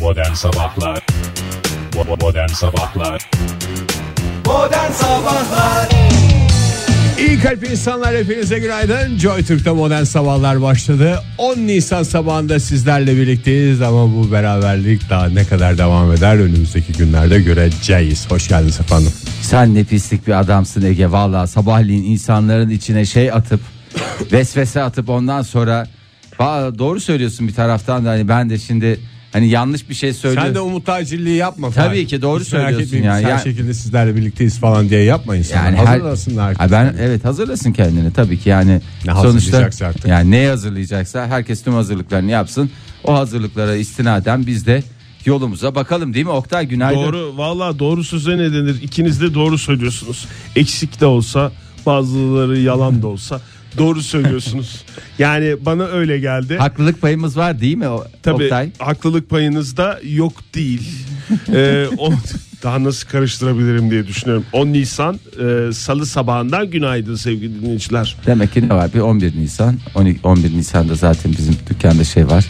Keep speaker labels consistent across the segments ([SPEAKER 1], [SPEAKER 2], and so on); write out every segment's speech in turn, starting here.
[SPEAKER 1] Modern Sabahlar Bo- Modern Sabahlar
[SPEAKER 2] Modern Sabahlar
[SPEAKER 3] İyi kalp insanlar hepinize günaydın. Joy Türk'te modern sabahlar başladı. 10 Nisan sabahında sizlerle birlikteyiz ama bu beraberlik daha ne kadar devam eder önümüzdeki günlerde göreceğiz. Hoş geldiniz efendim.
[SPEAKER 4] Sen ne pislik bir adamsın Ege Vallahi sabahleyin insanların içine şey atıp vesvese atıp ondan sonra Va- doğru söylüyorsun bir taraftan da hani ben de şimdi hani yanlış bir şey
[SPEAKER 3] Sen de
[SPEAKER 4] söylüyorum.
[SPEAKER 3] umut tacirliği yapma.
[SPEAKER 4] Tabii
[SPEAKER 3] Fahir.
[SPEAKER 4] ki doğru
[SPEAKER 3] Hiç merak
[SPEAKER 4] söylüyorsun
[SPEAKER 3] etmeyin,
[SPEAKER 4] ya.
[SPEAKER 3] biz Her
[SPEAKER 4] Ya-
[SPEAKER 3] şekilde sizlerle birlikteyiz falan diye yapma insanlar.
[SPEAKER 4] Yani her-
[SPEAKER 3] Hazırlasınlar.
[SPEAKER 4] Ha ben evet hazırlasın kendini tabii ki yani
[SPEAKER 3] Ne
[SPEAKER 4] sonuçta
[SPEAKER 3] hazırlayacaksa artık.
[SPEAKER 4] yani ne hazırlayacaksa herkes tüm hazırlıklarını yapsın. O hazırlıklara istinaden biz de yolumuza bakalım değil mi Oktay günaydın.
[SPEAKER 5] Doğru valla doğru söze ne denir ikiniz de doğru söylüyorsunuz Eksik de olsa bazıları yalan da olsa doğru söylüyorsunuz Yani bana öyle geldi
[SPEAKER 4] Haklılık payımız var değil mi o-
[SPEAKER 5] Tabii
[SPEAKER 4] Oktay?
[SPEAKER 5] haklılık payınız da yok değil Ee, o- Daha nasıl karıştırabilirim diye düşünüyorum 10 Nisan e, salı sabahından günaydın sevgili dinleyiciler
[SPEAKER 4] Demek ki ne var? Bir 11 Nisan. 12, 11 Nisan'da zaten bizim dükkanda şey var.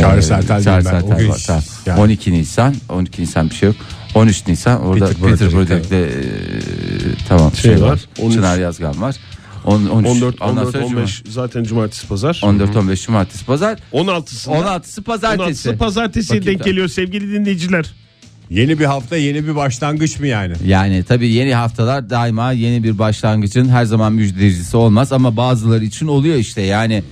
[SPEAKER 3] Çağrı Sertel
[SPEAKER 4] Çağrı
[SPEAKER 3] diyeyim ben. O
[SPEAKER 4] Sertel
[SPEAKER 3] gün
[SPEAKER 4] var. Tamam.
[SPEAKER 3] yani.
[SPEAKER 4] 12 Nisan. 12 Nisan bir şey yok. 13 Nisan orada
[SPEAKER 3] Peter
[SPEAKER 4] Peter, Broderik'te
[SPEAKER 3] Broderik'te.
[SPEAKER 4] e, tamam şey,
[SPEAKER 5] var.
[SPEAKER 4] var.
[SPEAKER 5] 13.
[SPEAKER 4] Çınar Yazgan var. On- 13,
[SPEAKER 5] 14,
[SPEAKER 4] ondan
[SPEAKER 5] 14,
[SPEAKER 4] sonra
[SPEAKER 5] 15 zaten cumartesi pazar
[SPEAKER 4] Cuma. 14, 15 Cumartesi Pazar.
[SPEAKER 5] 16'sında
[SPEAKER 4] 16'sı Pazartesi.
[SPEAKER 5] 16'sı pazartesi
[SPEAKER 4] Bakayım
[SPEAKER 5] denk
[SPEAKER 4] da.
[SPEAKER 5] geliyor sevgili dinleyiciler
[SPEAKER 3] Yeni bir hafta yeni bir başlangıç mı yani?
[SPEAKER 4] Yani tabii yeni haftalar daima yeni bir başlangıcın her zaman müjdecisi olmaz ama bazıları için oluyor işte yani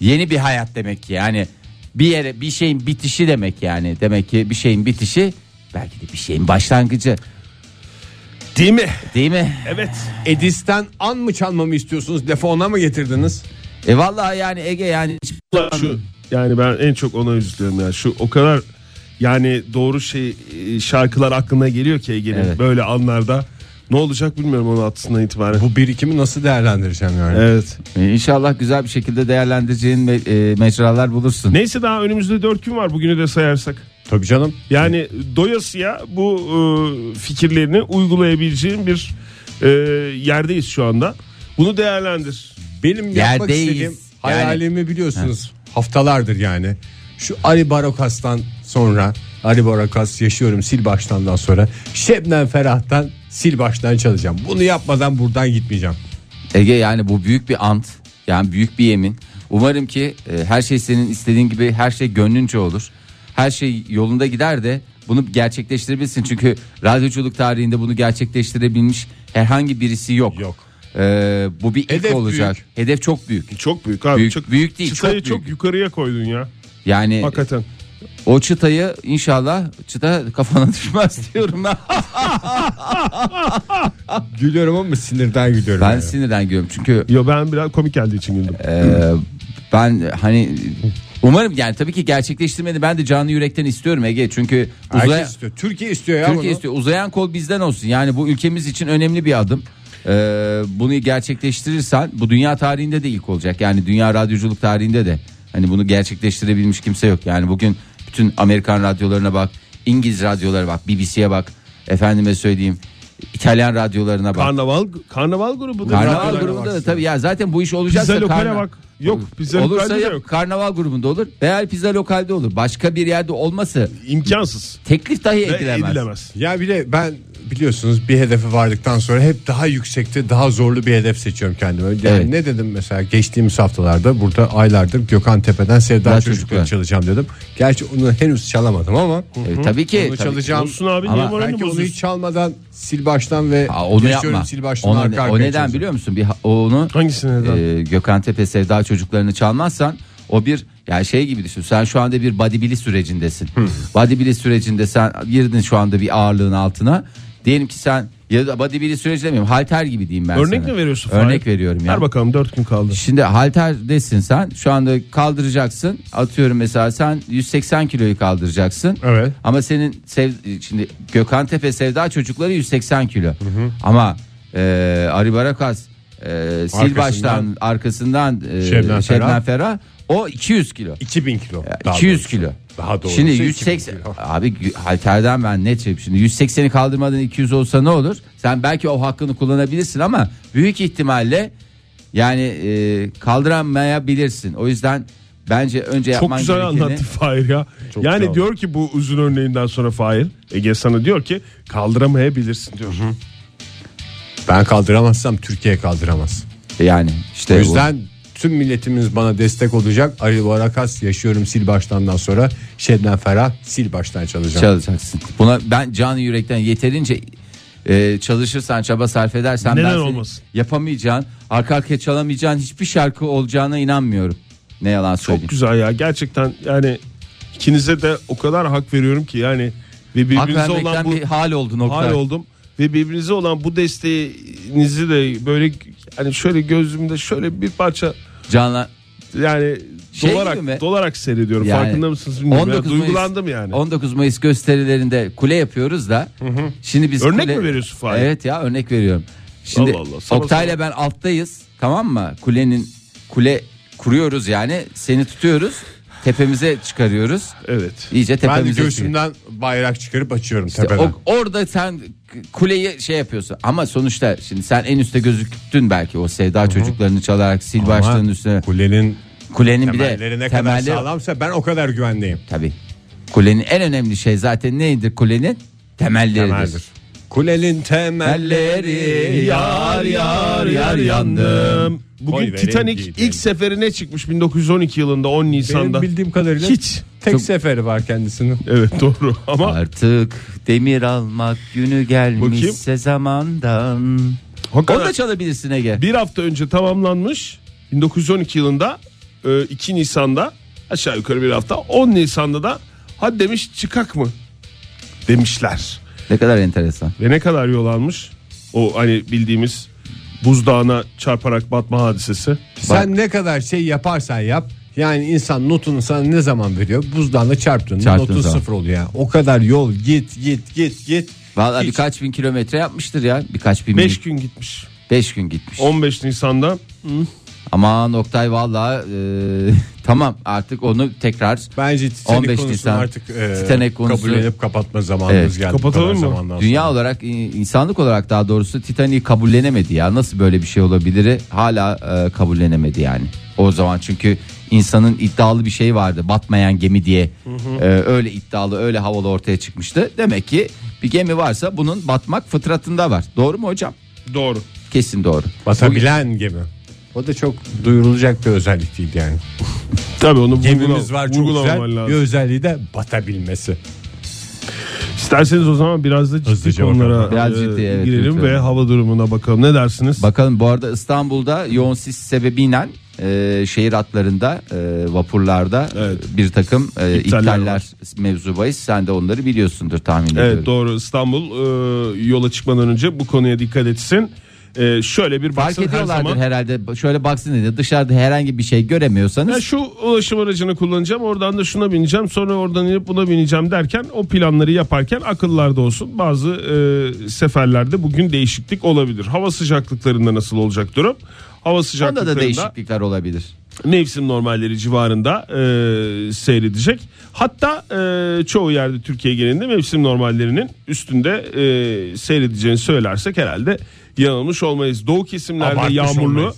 [SPEAKER 4] yeni bir hayat demek ki yani bir yere bir şeyin bitişi demek yani demek ki bir şeyin bitişi belki de bir şeyin başlangıcı
[SPEAKER 5] Değil mi?
[SPEAKER 4] değil mi?
[SPEAKER 5] Evet
[SPEAKER 3] Edis'ten an mı çalmamı istiyorsunuz? Defo ona mı getirdiniz?
[SPEAKER 4] E vallahi yani Ege yani hiç-
[SPEAKER 5] Ulan şu yani ben en çok ona üzülüyorum ya. Şu o kadar yani doğru şey e, şarkılar aklına geliyor ki Ege'nin
[SPEAKER 4] Evet.
[SPEAKER 5] böyle anlarda. Ne olacak bilmiyorum onun altısından itibaren.
[SPEAKER 3] Bu birikimi nasıl değerlendireceğim yani?
[SPEAKER 5] Evet.
[SPEAKER 4] E, inşallah güzel bir şekilde değerlendireceğin me- e, mecralar bulursun.
[SPEAKER 5] Neyse daha önümüzde 4 gün var bugünü de sayarsak.
[SPEAKER 3] Tabii canım.
[SPEAKER 5] Yani doyasıya bu e, fikirlerini uygulayabileceğin bir e, yerdeyiz şu anda. Bunu değerlendir.
[SPEAKER 3] Benim yapmak
[SPEAKER 4] Yerdeyiz.
[SPEAKER 3] istediğim
[SPEAKER 4] Yani-
[SPEAKER 3] hayalimi biliyorsunuz haftalardır yani. Şu Ari Barokas'tan sonra Ari Barokas yaşıyorum sil baştandan sonra Şebnem Ferah'tan sil baştan çalacağım. Bunu yapmadan buradan gitmeyeceğim.
[SPEAKER 4] Ege yani bu büyük bir ant yani büyük bir yemin. Umarım ki e, her şey senin istediğin gibi her şey gönlünce olur. Her şey yolunda gider de bunu gerçekleştirebilirsin. Çünkü radyoculuk tarihinde bunu gerçekleştirebilmiş herhangi birisi yok.
[SPEAKER 3] Yok.
[SPEAKER 4] E, bu bir ilk
[SPEAKER 3] Hedef
[SPEAKER 4] olacak.
[SPEAKER 3] büyük.
[SPEAKER 4] Hedef çok büyük.
[SPEAKER 5] Çok büyük abi.
[SPEAKER 4] Büyük-
[SPEAKER 5] çok,
[SPEAKER 4] büyük değil,
[SPEAKER 5] çıtayı
[SPEAKER 4] çok
[SPEAKER 5] çok,
[SPEAKER 4] büyük.
[SPEAKER 5] yukarıya koydun ya.
[SPEAKER 4] Yani
[SPEAKER 5] Hakikaten.
[SPEAKER 4] o çıtayı inşallah çıta kafana düşmez diyorum ben.
[SPEAKER 3] Gülüyorum ama sinirden gülüyorum.
[SPEAKER 4] ben
[SPEAKER 3] yani.
[SPEAKER 4] sinirden gülüyorum çünkü
[SPEAKER 5] Yo ben biraz komik geldiği için güldüm.
[SPEAKER 4] Ee, ben hani umarım yani tabii ki gerçekleştirmeni ben de canlı yürekten istiyorum Ege çünkü
[SPEAKER 3] Herkes
[SPEAKER 4] uzaya,
[SPEAKER 3] istiyor. Türkiye istiyor ya
[SPEAKER 4] Türkiye
[SPEAKER 3] bunu.
[SPEAKER 4] istiyor uzayan kol bizden olsun yani bu ülkemiz için önemli bir adım. Ee, bunu gerçekleştirirsen bu dünya tarihinde de ilk olacak yani dünya radyoculuk tarihinde de hani bunu gerçekleştirebilmiş kimse yok yani bugün bütün Amerikan radyolarına bak İngiliz radyolara bak BBC'ye bak efendime söyleyeyim İtalyan radyolarına bak.
[SPEAKER 5] Karnaval karnaval grubu da
[SPEAKER 4] Karnaval
[SPEAKER 5] Radyolarına
[SPEAKER 4] grubunda da
[SPEAKER 5] baksın.
[SPEAKER 4] tabii ya zaten bu iş olacaksa
[SPEAKER 5] Pizza lokale
[SPEAKER 4] karna-
[SPEAKER 5] bak. Yok pizza
[SPEAKER 4] olursa
[SPEAKER 5] lokalde de
[SPEAKER 4] yap-
[SPEAKER 5] yok.
[SPEAKER 4] karnaval grubunda olur veya pizza lokalde olur. Başka bir yerde olması
[SPEAKER 5] İmkansız.
[SPEAKER 4] teklif dahi
[SPEAKER 5] Ve
[SPEAKER 4] edilemez.
[SPEAKER 5] Edilemez.
[SPEAKER 3] Ya bir de ben biliyorsunuz bir hedefe vardıktan sonra hep daha yüksekte daha zorlu bir hedef seçiyorum kendime. Yani
[SPEAKER 4] Evet.
[SPEAKER 3] Ne dedim mesela geçtiğimiz haftalarda burada aylardır Gökhan Tepe'den Sevda
[SPEAKER 4] Daha
[SPEAKER 3] Çocukları
[SPEAKER 4] Çocuklar.
[SPEAKER 3] çalacağım dedim. Gerçi onu henüz çalamadım ama
[SPEAKER 4] Evet, tabii ki.
[SPEAKER 3] onu
[SPEAKER 4] tabii ki.
[SPEAKER 3] çalacağım.
[SPEAKER 5] Olsun abi
[SPEAKER 4] Ama
[SPEAKER 5] niye moralini
[SPEAKER 3] Belki onu hiç
[SPEAKER 5] bozuyorsun?
[SPEAKER 3] çalmadan sil baştan ve
[SPEAKER 4] Aa, onu
[SPEAKER 3] yaşıyorum
[SPEAKER 4] yapma.
[SPEAKER 3] sil baştan
[SPEAKER 4] Onu-
[SPEAKER 3] arka
[SPEAKER 4] o
[SPEAKER 3] arkaya
[SPEAKER 4] neden
[SPEAKER 3] çalacağım.
[SPEAKER 4] biliyor musun? Bir ha- onu
[SPEAKER 5] Hangisi neden?
[SPEAKER 4] e, Gökhan Tepe Sevda çocuklarını çalmazsan o bir yani şey gibi düşün. Sen şu anda bir bodybuilding sürecindesin. bodybuilding sürecinde sen girdin şu anda bir ağırlığın altına. Diyelim ki sen ya da bodybuilding süreci demeyeyim. Halter gibi diyeyim ben
[SPEAKER 5] Örnek
[SPEAKER 4] sana.
[SPEAKER 5] mi veriyorsun?
[SPEAKER 4] Örnek
[SPEAKER 5] Fahir?
[SPEAKER 4] veriyorum ya.
[SPEAKER 5] Ver bakalım 4 gün kaldı.
[SPEAKER 4] Şimdi halterdesin sen. Şu anda kaldıracaksın. Atıyorum mesela sen 180 kiloyu kaldıracaksın.
[SPEAKER 3] Evet.
[SPEAKER 4] Ama senin sev- şimdi Gökhan Tepe Sevda çocukları 180 kilo. Ama e, Ari Barakas e, sil
[SPEAKER 3] Arkasından-
[SPEAKER 4] baştan arkasından e,
[SPEAKER 3] Şebnem
[SPEAKER 4] Şebnem,
[SPEAKER 3] Ferah.
[SPEAKER 4] Ferah. o 200 kilo.
[SPEAKER 3] 2000 kilo.
[SPEAKER 4] Ya,
[SPEAKER 3] daha
[SPEAKER 4] 200
[SPEAKER 3] doğrusu.
[SPEAKER 4] kilo.
[SPEAKER 3] Daha doğrusu
[SPEAKER 4] Şimdi
[SPEAKER 3] 2000
[SPEAKER 4] 180
[SPEAKER 3] kilo.
[SPEAKER 4] abi gü- halterden ben net şey şimdi 180'i kaldırmadan 200 olsa ne olur? Sen belki o hakkını kullanabilirsin ama büyük ihtimalle yani e, kaldıramayabilirsin. O yüzden Bence önce
[SPEAKER 5] Çok
[SPEAKER 4] yapman
[SPEAKER 5] güzel
[SPEAKER 4] gerekeni
[SPEAKER 5] anlattı Fahir ya. yani diyor ki bu uzun örneğinden sonra Fahir Ege sana diyor ki kaldıramayabilirsin diyor.
[SPEAKER 3] Ben kaldıramazsam Türkiye kaldıramaz.
[SPEAKER 4] yani işte
[SPEAKER 3] O
[SPEAKER 4] Şey, bu.
[SPEAKER 3] yüzden tüm milletimiz bana destek olacak. Ali Barakas yaşıyorum sil baştandan sonra Şebnem Ferah sil baştan çalacağım.
[SPEAKER 4] çalışacaksın. Buna ben canı yürekten yeterince e, çalışırsan, çaba sarf edersen
[SPEAKER 5] Neden
[SPEAKER 4] ben senin
[SPEAKER 5] olmasın?
[SPEAKER 4] yapamayacağın, arka arkaya çalamayacağın hiçbir şarkı olacağına inanmıyorum. Ne yalan söyleyeyim.
[SPEAKER 5] Çok güzel ya gerçekten yani ikinize de o kadar hak veriyorum ki yani ve
[SPEAKER 4] Hak
[SPEAKER 5] birbirinize olan
[SPEAKER 4] vermekten
[SPEAKER 5] bu
[SPEAKER 4] bir hal oldu nokta.
[SPEAKER 5] hal oldum ve birbirinize olan bu desteğinizi de böyle hani şöyle gözümde şöyle bir parça
[SPEAKER 4] Canla
[SPEAKER 5] yani
[SPEAKER 4] Şey gibi mi?
[SPEAKER 5] dolarak dolarak seyrediyorum
[SPEAKER 4] Yani
[SPEAKER 5] farkında mısınız bilmiyorum. Ya
[SPEAKER 4] 19 Mayıs-
[SPEAKER 5] duygulandım yani.
[SPEAKER 4] 19 Mayıs gösterilerinde kule yapıyoruz da. Şimdi biz
[SPEAKER 5] Örnek
[SPEAKER 4] kule-
[SPEAKER 5] mi veriyorsun Fahir?
[SPEAKER 4] Evet ya örnek veriyorum. Şimdi
[SPEAKER 5] Allah Allah, sana
[SPEAKER 4] Oktay'la ben alttayız. Tamam mı? Kulenin kule kuruyoruz yani. Seni tutuyoruz. Tepemize çıkarıyoruz.
[SPEAKER 5] Evet.
[SPEAKER 4] İyice
[SPEAKER 3] Ben de
[SPEAKER 4] tepemize çıkıyor.
[SPEAKER 3] göğsümden bayrak çıkarıp açıyorum
[SPEAKER 4] İşte
[SPEAKER 3] tepeden.
[SPEAKER 4] o- orada sen k- kuleyi şey yapıyorsun ama sonuçta şimdi sen en üste gözüktün belki o sevda çocuklarını çalarak sil başlığının üstüne
[SPEAKER 3] Kulenin
[SPEAKER 4] kulenin bir de
[SPEAKER 3] temelleri ne kadar
[SPEAKER 4] temelleri
[SPEAKER 3] sağlamsa ben o kadar güvendeyim.
[SPEAKER 4] tabi kulenin en önemli şey zaten neydi kulenin temelleridir.
[SPEAKER 3] Temeldir. Kulenin temelleri
[SPEAKER 4] Temelleri yar yar yar yandım.
[SPEAKER 5] Bugün
[SPEAKER 3] Oy vereyim,
[SPEAKER 5] Titanic
[SPEAKER 3] giyeceğim.
[SPEAKER 5] ilk seferine çıkmış 1912 yılında 10 Nisan'da.
[SPEAKER 3] Benim bildiğim kadarıyla
[SPEAKER 5] Hiç.
[SPEAKER 3] tek
[SPEAKER 4] Çok-
[SPEAKER 3] seferi var kendisinin.
[SPEAKER 5] Evet doğru ama
[SPEAKER 4] Artık demir almak günü gelmişse zamandan. Onu da
[SPEAKER 5] hakikaten
[SPEAKER 4] çalabilirsin Ege.
[SPEAKER 5] bir hafta önce tamamlanmış 1912 yılında e, 2 Nisan'da aşağı yukarı bir hafta 10 Nisan'da da ha demiş çıkak mı demişler.
[SPEAKER 4] Ne kadar enteresan.
[SPEAKER 5] Ve ne kadar yol almış o hani bildiğimiz buzdağına çarparak batma hadisesi.
[SPEAKER 3] Sen ne kadar şey yaparsan yap yani insan notunu sana ne zaman veriyor? Buzdağına çarptın.
[SPEAKER 4] Çarptığın
[SPEAKER 3] Notun
[SPEAKER 4] zaman.
[SPEAKER 3] sıfır oluyor. yani. O kadar yol git git git git.
[SPEAKER 4] Vallahi
[SPEAKER 3] Hiç.
[SPEAKER 4] birkaç bin kilometre yapmıştır ya. Birkaç bin
[SPEAKER 5] 5
[SPEAKER 4] 5
[SPEAKER 5] gün gitmiş.
[SPEAKER 4] beş gün gitmiş.
[SPEAKER 5] 15 Nisan'da
[SPEAKER 4] Aman Oktay valla tamam artık onu tekrar
[SPEAKER 3] Bence Titanic
[SPEAKER 4] 15
[SPEAKER 3] konusunu
[SPEAKER 4] Nisan.
[SPEAKER 3] artık e,
[SPEAKER 4] Titanic konusu-
[SPEAKER 3] kabul edip kapatma zamanımız
[SPEAKER 4] Evet.
[SPEAKER 3] geldi. Bu
[SPEAKER 5] Kapatalım
[SPEAKER 3] kadar
[SPEAKER 5] mı?
[SPEAKER 3] zamandan
[SPEAKER 4] dünya
[SPEAKER 3] sonra.
[SPEAKER 4] olarak i- insanlık olarak daha doğrusu Titanic'i kabullenemedi ya. Nasıl böyle bir şey olabilir? Hala e, kabullenemedi yani. O zaman çünkü insanın iddialı bir şey vardı. Batmayan gemi diye. E, öyle iddialı, öyle havalı ortaya çıkmıştı. Demek ki bir gemi varsa bunun batmak fıtratında var. Doğru mu hocam?
[SPEAKER 5] doğru.
[SPEAKER 4] Kesin doğru.
[SPEAKER 3] Batabilen gemi. O da çok duyurulacak bir özellik değil yani.
[SPEAKER 5] Tabii onu
[SPEAKER 3] Gemimiz
[SPEAKER 5] vurgula-
[SPEAKER 3] var çok
[SPEAKER 5] vurgulamaman
[SPEAKER 3] güzel. Bir özelliği de batabilmesi.
[SPEAKER 5] İsterseniz o zaman biraz da ciddi
[SPEAKER 3] Hızlıca
[SPEAKER 5] konulara
[SPEAKER 3] bakalım.
[SPEAKER 4] Biraz
[SPEAKER 5] e,
[SPEAKER 4] ciddi, evet,
[SPEAKER 5] girelim
[SPEAKER 4] lütfen.
[SPEAKER 5] ve hava durumuna bakalım. Ne dersiniz?
[SPEAKER 4] Bakalım bu arada İstanbul'da yoğun sis sebebiyle e, şehir hatlarında e, vapurlarda
[SPEAKER 5] Evet.
[SPEAKER 4] e, bir takım e,
[SPEAKER 5] İptaller
[SPEAKER 4] iptaller
[SPEAKER 5] var.
[SPEAKER 4] mevzu bahis. Sen de onları biliyorsundur tahmin ediyorum.
[SPEAKER 5] evet doğru İstanbul e, yola çıkmadan önce bu konuya dikkat etsin. E, şöyle bir
[SPEAKER 4] Fark
[SPEAKER 5] baksın her
[SPEAKER 4] ediyorlardır
[SPEAKER 5] zaman.
[SPEAKER 4] herhalde. Şöyle baksın dedi. Dışarıda herhangi bir şey göremiyorsanız
[SPEAKER 5] Ya şu ulaşım aracını kullanacağım oradan da şuna bineceğim sonra oradan inip buna bineceğim derken o planları yaparken akıllarda olsun bazı e, seferlerde bugün değişiklik olabilir. Hava sıcaklıklarında nasıl olacak durum? Hava
[SPEAKER 4] onda da
[SPEAKER 5] sıcaklıklarında
[SPEAKER 4] değişiklikler olabilir.
[SPEAKER 5] mevsim normalleri civarında e, seyredecek. Hatta e, çoğu yerde Türkiye genelinde mevsim normallerinin üstünde e, seyredeceğini söylersek herhalde yanılmış olmayız. Doğu kesimlerde
[SPEAKER 3] Abartmış
[SPEAKER 5] yağmurlu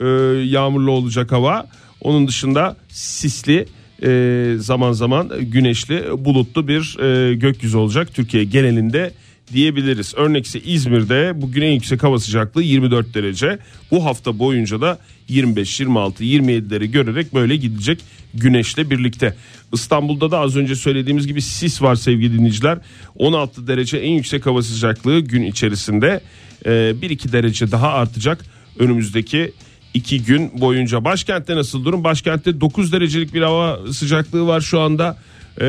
[SPEAKER 5] e, yağmurlu olacak hava. Onun dışında sisli e, zaman zaman güneşli bulutlu bir e, gökyüzü olacak Türkiye genelinde diyebiliriz. Örnekse İzmir'de bugün en yüksek hava sıcaklığı 24 derece. Bu hafta boyunca da 25, 26, 27'leri görerek böyle gidecek güneşle birlikte. İstanbul'da da az önce söylediğimiz gibi sis var sevgili dinleyiciler. 16 derece en yüksek hava sıcaklığı gün içerisinde e, 1-2 derece daha artacak önümüzdeki iki gün boyunca. Başkentte nasıl durum? Başkentte 9 derecelik bir hava sıcaklığı var şu anda. Ee,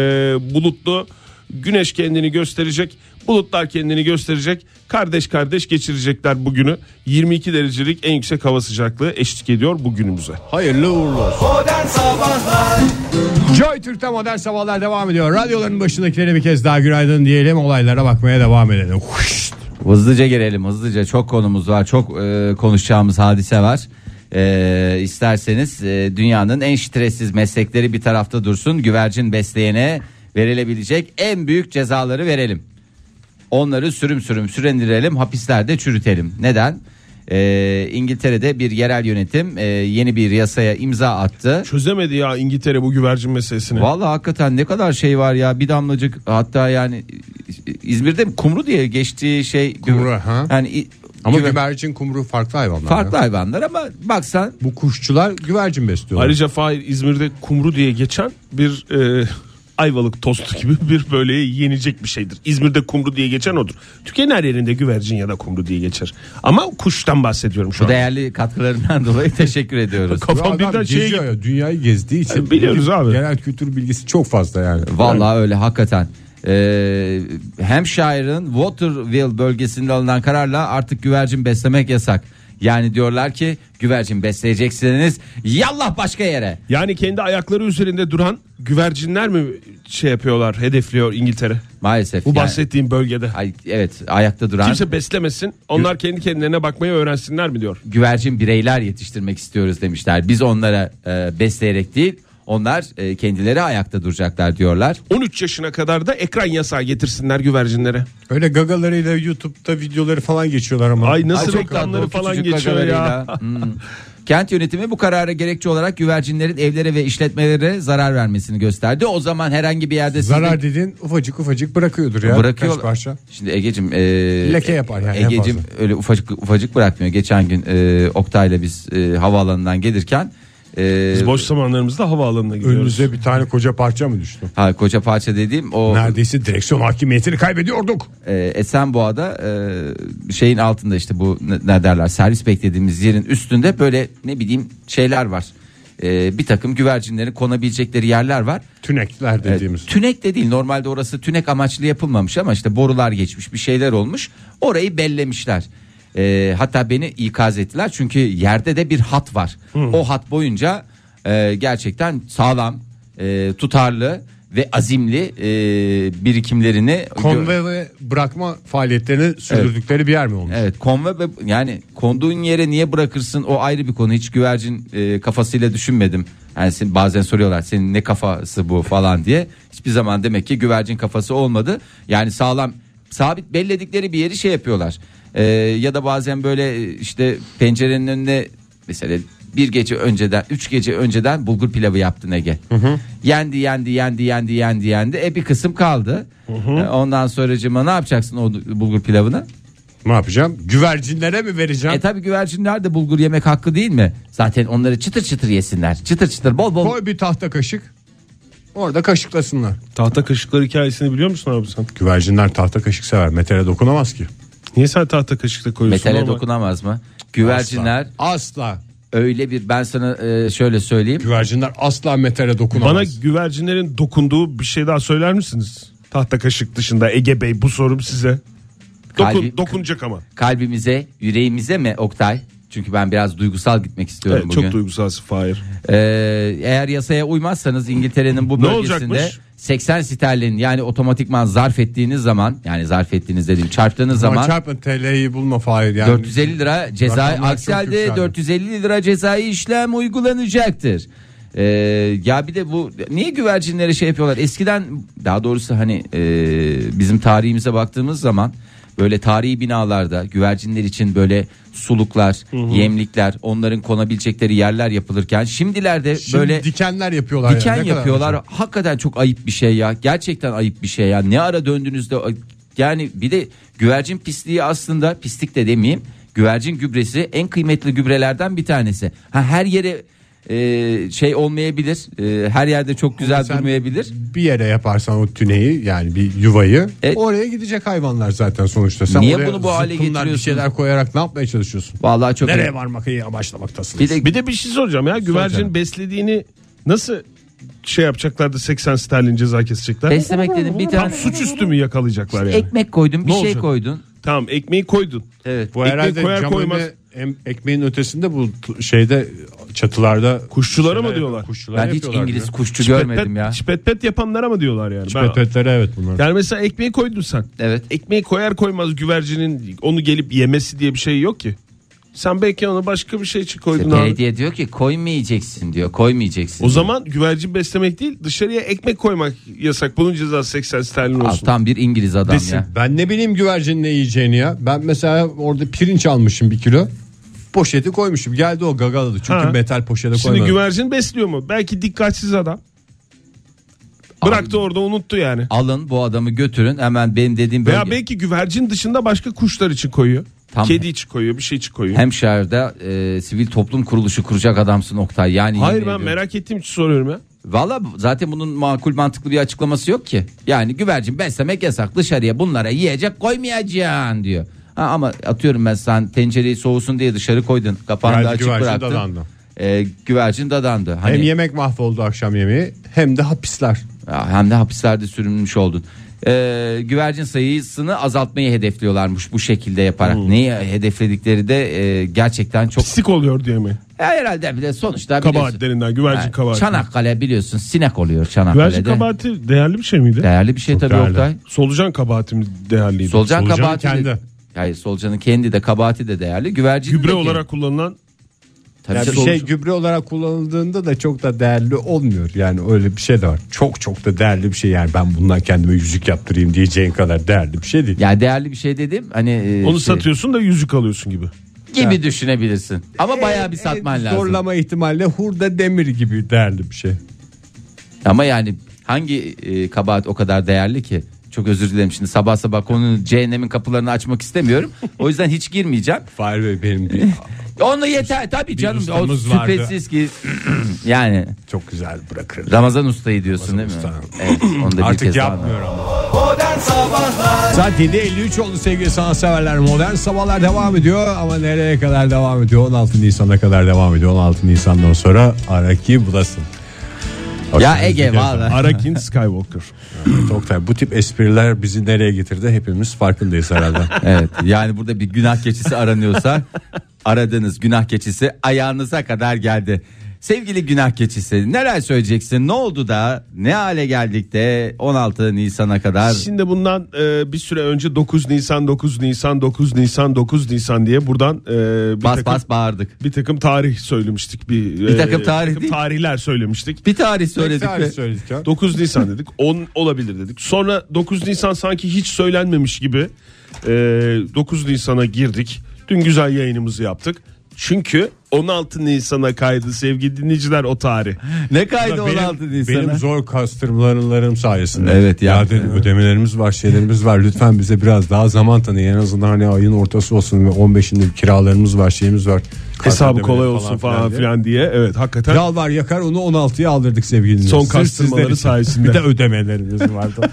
[SPEAKER 5] bulutlu. Güneş kendini gösterecek. Bulutlar kendini gösterecek. Kardeş kardeş geçirecekler bugünü. 22 derecelik en yüksek hava sıcaklığı eşlik ediyor bugünümüze.
[SPEAKER 3] Hayırlı uğurlu olsun.
[SPEAKER 2] Modern Sabahlar
[SPEAKER 3] Joy Türk'te modern sabahlar devam ediyor. Radyoların başındakilere bir kez daha günaydın diyelim. Olaylara bakmaya devam edelim. Huşt.
[SPEAKER 4] Hızlıca gelelim hızlıca çok konumuz var çok e, konuşacağımız hadise var. E, isterseniz e, dünyanın en stressiz meslekleri bir tarafta dursun güvercin besleyene verilebilecek en büyük cezaları verelim. Onları sürüm sürüm sürendirelim hapislerde çürütelim. Neden? Ee, İngiltere'de bir yerel yönetim e, yeni bir yasaya imza attı.
[SPEAKER 5] Çözemedi ya İngiltere bu güvercin meselesini.
[SPEAKER 4] Vallahi hakikaten ne kadar şey var ya bir damlacık hatta yani İzmir'de mi? kumru diye geçtiği şey
[SPEAKER 3] Kumru, ha.
[SPEAKER 4] yani i-
[SPEAKER 3] Ama
[SPEAKER 4] güver-
[SPEAKER 3] güvercin kumru farklı hayvanlar.
[SPEAKER 4] farklı
[SPEAKER 3] ya.
[SPEAKER 4] hayvanlar ama baksan
[SPEAKER 3] Bu kuşçular güvercin besliyorlar.
[SPEAKER 5] Ayrıca Fahir İzmir'de kumru diye geçen bir e, ayvalık tostu gibi bir böyle yenecek bir şeydir. İzmir'de kumru diye geçen odur. Türkiye'nin her yerinde güvercin ya da kumru diye geçer. Ama kuştan bahsediyorum şu
[SPEAKER 4] bu
[SPEAKER 5] an.
[SPEAKER 4] değerli katkılarından dolayı teşekkür ediyoruz.
[SPEAKER 3] Bu
[SPEAKER 5] Kafam
[SPEAKER 3] adam
[SPEAKER 5] birden şeye
[SPEAKER 3] geziyor ya, dünyayı gezdiği için.
[SPEAKER 5] Ya, şey- biliyoruz abi.
[SPEAKER 3] Genel kültür bilgisi çok fazla yani.
[SPEAKER 4] Vallahi öyle hakikaten. Ee, Hampshire'ın Waterville bölgesinde alınan kararla artık güvercin beslemek yasak. Yani diyorlar ki güvercin besleyeceksiniz yallah başka yere.
[SPEAKER 5] Yani kendi ayakları üzerinde duran güvercinler mi şey yapıyorlar, hedefliyor İngiltere?
[SPEAKER 4] Maalesef.
[SPEAKER 5] Bu
[SPEAKER 4] yani-
[SPEAKER 5] bahsettiğim bölgede.
[SPEAKER 4] Ay, evet ayakta duran
[SPEAKER 5] Kimse beslemesin. Onlar kendi kendilerine bakmayı öğrensinler mi diyor.
[SPEAKER 4] güvercin bireyler yetiştirmek istiyoruz demişler. Biz onlara e, besleyerek değil onlar e, kendileri ayakta duracaklar diyorlar.
[SPEAKER 5] 13 yaşına kadar da ekran yasağı getirsinler güvercinlere.
[SPEAKER 3] Öyle gagalarıyla YouTube'da videoları falan geçiyorlar ama.
[SPEAKER 5] Ay nasıl
[SPEAKER 4] Ay, çok
[SPEAKER 5] reklamları
[SPEAKER 4] tatlı o
[SPEAKER 5] falan
[SPEAKER 4] küçücük
[SPEAKER 5] geçiyor ya.
[SPEAKER 4] gagalarıyla. Hmm. Kent yönetimi bu karara gerekçe olarak güvercinlerin evlere ve işletmelere zarar vermesini gösterdi. O zaman herhangi bir yerde sizin-
[SPEAKER 3] Zarar dediğin ufacık ufacık bırakıyordur ya.
[SPEAKER 4] bırakıyor.
[SPEAKER 3] Kaç parça.
[SPEAKER 4] Şimdi Egecim e,
[SPEAKER 3] Leke yapar yani en
[SPEAKER 4] Egecim
[SPEAKER 3] fazla.
[SPEAKER 4] öyle ufacık ufacık bırakmıyor. Geçen gün e, Oktay'la biz e, havaalanından gelirken e,
[SPEAKER 5] Biz boş zamanlarımızda havaalanına gidiyoruz.
[SPEAKER 3] Önünüze bir tane koca parça mı düştü?
[SPEAKER 4] ha, koca parça dediğim o
[SPEAKER 3] Neredeyse direksiyon hakimiyetini kaybediyorduk.
[SPEAKER 4] e, Esenboğa'da e, şeyin altında işte bu ne- ne derler servis beklediğimiz yerin üstünde böyle ne bileyim şeyler var. E, bir takım güvercinlerin konabilecekleri yerler var.
[SPEAKER 3] Tünekler
[SPEAKER 4] E,
[SPEAKER 3] dediğimiz.
[SPEAKER 4] Tünek de değil normalde orası tünek amaçlı yapılmamış ama işte borular geçmiş bir şeyler olmuş. Orayı bellemişler. E, hatta beni ikaz ettiler çünkü yerde de bir hat var. O hat boyunca e, gerçekten sağlam, e, tutarlı ve azimli e, birikimlerini
[SPEAKER 3] Konvoy ve bırakma faaliyetlerini sürdürdükleri bir yer mi olmuş?
[SPEAKER 4] Evet konve ve- yani konduğun yere niye bırakırsın o ayrı bir konu hiç güvercin e, kafasıyla düşünmedim. Yani sen- bazen soruyorlar senin ne kafası bu falan diye. Hiçbir zaman demek ki güvercin kafası olmadı. Yani sağlam sabit belledikleri bir yeri şey yapıyorlar. E, ya da bazen böyle e, işte pencerenin önüne mesela bir gece önceden üç gece önceden bulgur pilavı yaptın Ege. Yendi yendi yendi yendi yendi yendi. E bir kısım kaldı. E, Ondan sonracığıma ne yapacaksın o bulgur pilavını?
[SPEAKER 3] Ne yapacağım? Güvercinlere mi vereceğim?
[SPEAKER 4] E tabi güvercinler de bulgur yemek hakkı değil mi? Zaten onları çıtır çıtır yesinler. Çıtır çıtır bol bol.
[SPEAKER 3] Koy bir tahta kaşık. Orada kaşıklasınlar.
[SPEAKER 5] Tahta kaşıklar hikayesini biliyor musun abi sen?
[SPEAKER 3] Güvercinler tahta kaşık sever. Metale dokunamaz ki.
[SPEAKER 5] Niye sen tahta kaşıkla koyuyorsun?
[SPEAKER 4] Metale
[SPEAKER 5] ama?
[SPEAKER 4] dokunamaz mı? Güvercinler
[SPEAKER 3] Asla. asla.
[SPEAKER 4] öyle bir ben sana e, şöyle söyleyeyim.
[SPEAKER 3] Güvercinler asla metale dokunamaz.
[SPEAKER 5] Bana güvercinlerin dokunduğu bir şey daha söyler misiniz? Tahta kaşık dışında Ege Bey bu sorum size. Dokun,
[SPEAKER 4] Kalbi-
[SPEAKER 5] dokunacak ama.
[SPEAKER 4] Kalbimize, yüreğimize mi Oktay? Çünkü ben biraz duygusal gitmek istiyorum
[SPEAKER 5] Evet,
[SPEAKER 4] bugün.
[SPEAKER 5] çok duygusalsın Fahir.
[SPEAKER 4] Ee, eğer yasaya uymazsanız İngiltere'nin bu
[SPEAKER 5] Ne
[SPEAKER 4] bölgesinde
[SPEAKER 5] olacakmış?
[SPEAKER 4] 80 sterlin yani otomatikman zarf ettiğiniz zaman yani zarf ettiğiniz dediğim çarptığınız
[SPEAKER 3] Ama
[SPEAKER 4] zaman
[SPEAKER 3] çarpma TL'yi bulma Fahir yani.
[SPEAKER 4] 450 lira ceza
[SPEAKER 3] Rakamlar
[SPEAKER 4] aksi
[SPEAKER 3] çok
[SPEAKER 4] halde
[SPEAKER 3] yükseldi.
[SPEAKER 4] 450 lira cezai işlem uygulanacaktır. Ee, ya bir de bu niye güvercinlere şey yapıyorlar? Eskiden daha doğrusu hani e, bizim tarihimize baktığımız zaman böyle tarihi binalarda güvercinler için böyle suluklar, yemlikler, onların konabilecekleri yerler yapılırken şimdilerde
[SPEAKER 3] Şimdi
[SPEAKER 4] böyle
[SPEAKER 3] dikenler yapıyorlar.
[SPEAKER 4] Diken
[SPEAKER 3] yani. Ne kadar
[SPEAKER 4] yapıyorlar.
[SPEAKER 3] acı.
[SPEAKER 4] Hakikaten çok ayıp bir şey ya. Gerçekten ayıp bir şey ya. Ne ara döndüğünüzde yani bir de güvercin pisliği aslında pislik de demeyeyim. Güvercin gübresi en kıymetli gübrelerden bir tanesi. Ha her yere e, şey olmayabilir. E, her yerde çok güzel
[SPEAKER 3] Sen
[SPEAKER 4] durmayabilir.
[SPEAKER 3] Bir yere yaparsan o tüneyi yani bir yuvayı
[SPEAKER 4] E-
[SPEAKER 3] oraya gidecek hayvanlar zaten sonuçta. Sen
[SPEAKER 4] Niye
[SPEAKER 3] oraya
[SPEAKER 4] bunu bu hale
[SPEAKER 3] zıpkınlar, Bir
[SPEAKER 4] getiriyorsun?
[SPEAKER 3] şeyler koyarak ne yapmaya çalışıyorsun?
[SPEAKER 4] Vallahi çok
[SPEAKER 3] Nereye varmak iyi amaçlamaktasın?
[SPEAKER 4] Bir de
[SPEAKER 5] Bir de bir şey soracağım ya. Güvercin beslediğini nasıl şey yapacaklardı 80 sterlin ceza kesecekler?
[SPEAKER 4] beslemek dedim bir
[SPEAKER 5] Tam
[SPEAKER 4] tane
[SPEAKER 5] suçüstü mü yakalayacaklar yani?
[SPEAKER 4] ekmek koydun, bir
[SPEAKER 5] Ne
[SPEAKER 4] şey
[SPEAKER 5] olacak?
[SPEAKER 4] koydun.
[SPEAKER 5] Tamam ekmeği koydun.
[SPEAKER 4] Evet.
[SPEAKER 3] Bu
[SPEAKER 5] Ekmeği
[SPEAKER 3] herhalde
[SPEAKER 5] koyar
[SPEAKER 3] cam
[SPEAKER 5] koymaz-
[SPEAKER 3] önüne, hem ekmeğin ötesinde bu t- şeyde çatılarda
[SPEAKER 5] Kuşçulara mı
[SPEAKER 3] şeyler-
[SPEAKER 5] diyorlar?
[SPEAKER 3] Kuşçulara
[SPEAKER 4] Ben hiç
[SPEAKER 3] yapıyorlar
[SPEAKER 4] İngiliz
[SPEAKER 3] diyor.
[SPEAKER 4] kuşçu görmedim ya.
[SPEAKER 5] Çipet pet yapanlara mı diyorlar yani? Ben-
[SPEAKER 3] Çipetlere evet bunlar.
[SPEAKER 5] Yani mesela ekmeği koydun sen.
[SPEAKER 4] Evet.
[SPEAKER 5] Ekmeği koyar koymaz güvercinin onu gelip yemesi diye bir şey yok ki. Sen belki ona başka bir şey için koydun abi.
[SPEAKER 4] Belediye diyor ki koymayacaksın diyor. Koymayacaksın.
[SPEAKER 5] O zaman güvercin beslemek değil dışarıya ekmek koymak yasak. Bunun cezası 80 sterlin olsun.
[SPEAKER 4] Altan bir İngiliz adam
[SPEAKER 5] Desin.
[SPEAKER 4] ya.
[SPEAKER 3] Ben ne bileyim güvercinin ne yiyeceğini ya. Ben mesela orada pirinç almışım bir kilo. Poşeti koymuşum. Geldi o gagaladı. Çünkü
[SPEAKER 5] Ha.
[SPEAKER 3] metal poşete
[SPEAKER 5] Şimdi
[SPEAKER 3] koymadım.
[SPEAKER 5] güvercin besliyor mu? Belki dikkatsiz adam. Bıraktı orada unuttu yani.
[SPEAKER 4] Alın bu adamı götürün hemen benim dediğim bölge.
[SPEAKER 5] Veya belki güvercin dışında başka kuşlar için koyuyor.
[SPEAKER 4] Tam-
[SPEAKER 5] Kedi için koyuyor, bir şey için koyuyor.
[SPEAKER 4] Hemşehir'de e, sivil toplum kuruluşu kuracak adamsın Oktay. Yani
[SPEAKER 5] Hayır
[SPEAKER 4] yemin
[SPEAKER 5] ben
[SPEAKER 4] ediyorum.
[SPEAKER 5] merak ettiğim için soruyorum ya.
[SPEAKER 4] Valla bu- zaten bunun makul mantıklı bir açıklaması yok ki. Yani güvercin beslemek yasak dışarıya bunlara yiyecek koymayacaksın diyor. Ha, ama atıyorum ben sen tencereyi soğusun diye dışarı koydun kapağını
[SPEAKER 3] Geldi
[SPEAKER 4] da açık
[SPEAKER 3] güvercin
[SPEAKER 4] bıraktın.
[SPEAKER 3] dadandı.
[SPEAKER 4] E, güvercin dadandı. Hani,
[SPEAKER 3] Hem yemek mahvoldu akşam yemeği hem de hapisler.
[SPEAKER 4] Ya, hem de hapislerde sürünmüş oldun. Ee, güvercin sayısını azaltmayı hedefliyorlarmış bu şekilde yaparak.
[SPEAKER 5] Hmm.
[SPEAKER 4] Neyi hedefledikleri de e, gerçekten çok
[SPEAKER 5] Pislik oluyor diye mi?
[SPEAKER 4] Ya herhalde bile sonuçta biliyorsun.
[SPEAKER 5] Kabahatlerinden, güvercin
[SPEAKER 4] Yani
[SPEAKER 5] kabahati.
[SPEAKER 4] Çanakkale biliyorsun sinek oluyor
[SPEAKER 5] güvercin
[SPEAKER 4] Çanakkale'de.
[SPEAKER 5] kabahati değerli bir şey miydi?
[SPEAKER 4] Değerli bir şey tabii
[SPEAKER 3] değerli.
[SPEAKER 4] Oktay.
[SPEAKER 5] Solucan kabahati mi değerliydi?
[SPEAKER 4] Solucan
[SPEAKER 3] Solucanın
[SPEAKER 4] kabahati de-
[SPEAKER 3] kendi.
[SPEAKER 4] Hayır solucanın kendi de kabahati de değerli. Güvercin
[SPEAKER 5] Gübre olarak kullanılan
[SPEAKER 4] tabii
[SPEAKER 3] Yani bir
[SPEAKER 4] solucan-
[SPEAKER 3] şey gübre olarak kullanıldığında da çok da değerli olmuyor. Yani öyle bir şey de var. Çok çok da değerli bir şey. Yani ben bundan kendime yüzük yaptırayım diyeceğin kadar değerli bir şey değil.
[SPEAKER 4] Yani değerli bir şey dedim. Hani e,
[SPEAKER 5] onu
[SPEAKER 4] şey-
[SPEAKER 5] satıyorsun da yüzük alıyorsun gibi.
[SPEAKER 4] gibi düşünebilirsin. Ama bayağı bir
[SPEAKER 3] En-
[SPEAKER 4] satman
[SPEAKER 3] en
[SPEAKER 4] lazım.
[SPEAKER 3] E, Zorlama ihtimalle hurda demir gibi değerli bir şey.
[SPEAKER 4] Ama yani hangi e, kabahat o kadar değerli ki? Çok özür dilerim şimdi sabah sabah konunun cehennemin kapılarını açmak istemiyorum. O yüzden hiç girmeyeceğim.
[SPEAKER 3] Fahir Bey benim bir-
[SPEAKER 4] Onu yeter tabii canım. O
[SPEAKER 3] ustamız vardı.
[SPEAKER 4] şüphesiz ki yani
[SPEAKER 3] çok güzel bırakırım.
[SPEAKER 4] Ramazan ustayı diyorsun değil mi?
[SPEAKER 3] Usta.
[SPEAKER 4] Evet, onu da bir
[SPEAKER 3] Artık
[SPEAKER 4] kez daha-
[SPEAKER 3] yapmıyor ama.
[SPEAKER 2] Modern Sabahlar
[SPEAKER 3] Saat 7.53 oldu sevgili sanatseverler. Modern sabahlar devam ediyor ama nereye kadar devam ediyor? 16 Nisan'a kadar devam ediyor. 16 Nisan'dan sonra Araki bulasın.
[SPEAKER 4] Ya Ege valla.
[SPEAKER 5] Arakin Skywalker.
[SPEAKER 3] Oktay bu tip espriler bizi nereye getirdi hepimiz farkındayız herhalde.
[SPEAKER 4] Evet yani burada bir günah keçisi aranıyorsa aradığınız günah keçisi ayağınıza kadar geldi. Sevgili günah keçisi neler söyleyeceksin? Ne oldu da ne hale geldik de 16 Nisan'a kadar
[SPEAKER 5] Şimdi bundan e, bir süre önce 9 Nisan 9 Nisan 9 Nisan 9 Nisan diye buradan e, bir
[SPEAKER 4] bas
[SPEAKER 5] takım
[SPEAKER 4] bas bağırdık.
[SPEAKER 5] bir takım tarih söylemiştik bir
[SPEAKER 4] Bir takım tarih değil.
[SPEAKER 5] tarihler söylemiştik.
[SPEAKER 4] Bir tarih söyledik. ve-
[SPEAKER 3] söyledik ya.
[SPEAKER 5] 9 Nisan dedik 10 olabilir dedik. Sonra 9 Nisan sanki hiç söylenmemiş gibi e, 9 Nisan'a girdik. Dün güzel yayınımızı yaptık. Çünkü 16 Nisan'a kaydı sevgili dinleyiciler o tarih.
[SPEAKER 4] Ne kaydı
[SPEAKER 3] Benim-
[SPEAKER 4] 16 Nisan'a?
[SPEAKER 3] Benim zor kastırmalarım sayesinde.
[SPEAKER 4] Evet,
[SPEAKER 3] ya.
[SPEAKER 4] yani.
[SPEAKER 3] dedim, ödemelerimiz var şeylerimiz var. Lütfen bize biraz daha zaman tanıyın. En azından hani ayın ortası olsun ve 15'inde bir kiralarımız var şeyimiz var. Kart
[SPEAKER 5] Hesabı
[SPEAKER 3] ödemeleri
[SPEAKER 5] kolay olsun falan
[SPEAKER 3] diye.
[SPEAKER 5] filan diye. Evet hakikaten
[SPEAKER 3] Yal var yakar onu 16'ya aldırdık sevgili
[SPEAKER 5] Son
[SPEAKER 3] dinleyiciler. Sırf
[SPEAKER 5] kastırmaları
[SPEAKER 3] sizler için.
[SPEAKER 5] sayesinde.
[SPEAKER 3] Bir de ödemelerimiz vardı.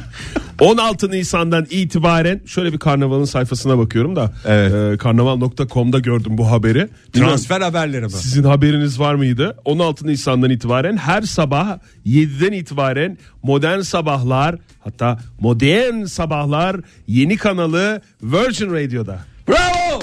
[SPEAKER 5] 16 Nisan'dan itibaren şöyle bir karnavalın sayfasına bakıyorum da
[SPEAKER 4] Evet.
[SPEAKER 5] e, karnaval.com'da gördüm bu haberi.
[SPEAKER 3] Transfer haberleri mi?
[SPEAKER 5] Sizin haberiniz var mıydı? 16 Nisan'dan itibaren her sabah 7'den itibaren Modern Sabahlar hatta Modern Sabahlar yeni kanalı Virgin Radio'da.
[SPEAKER 4] Bravo!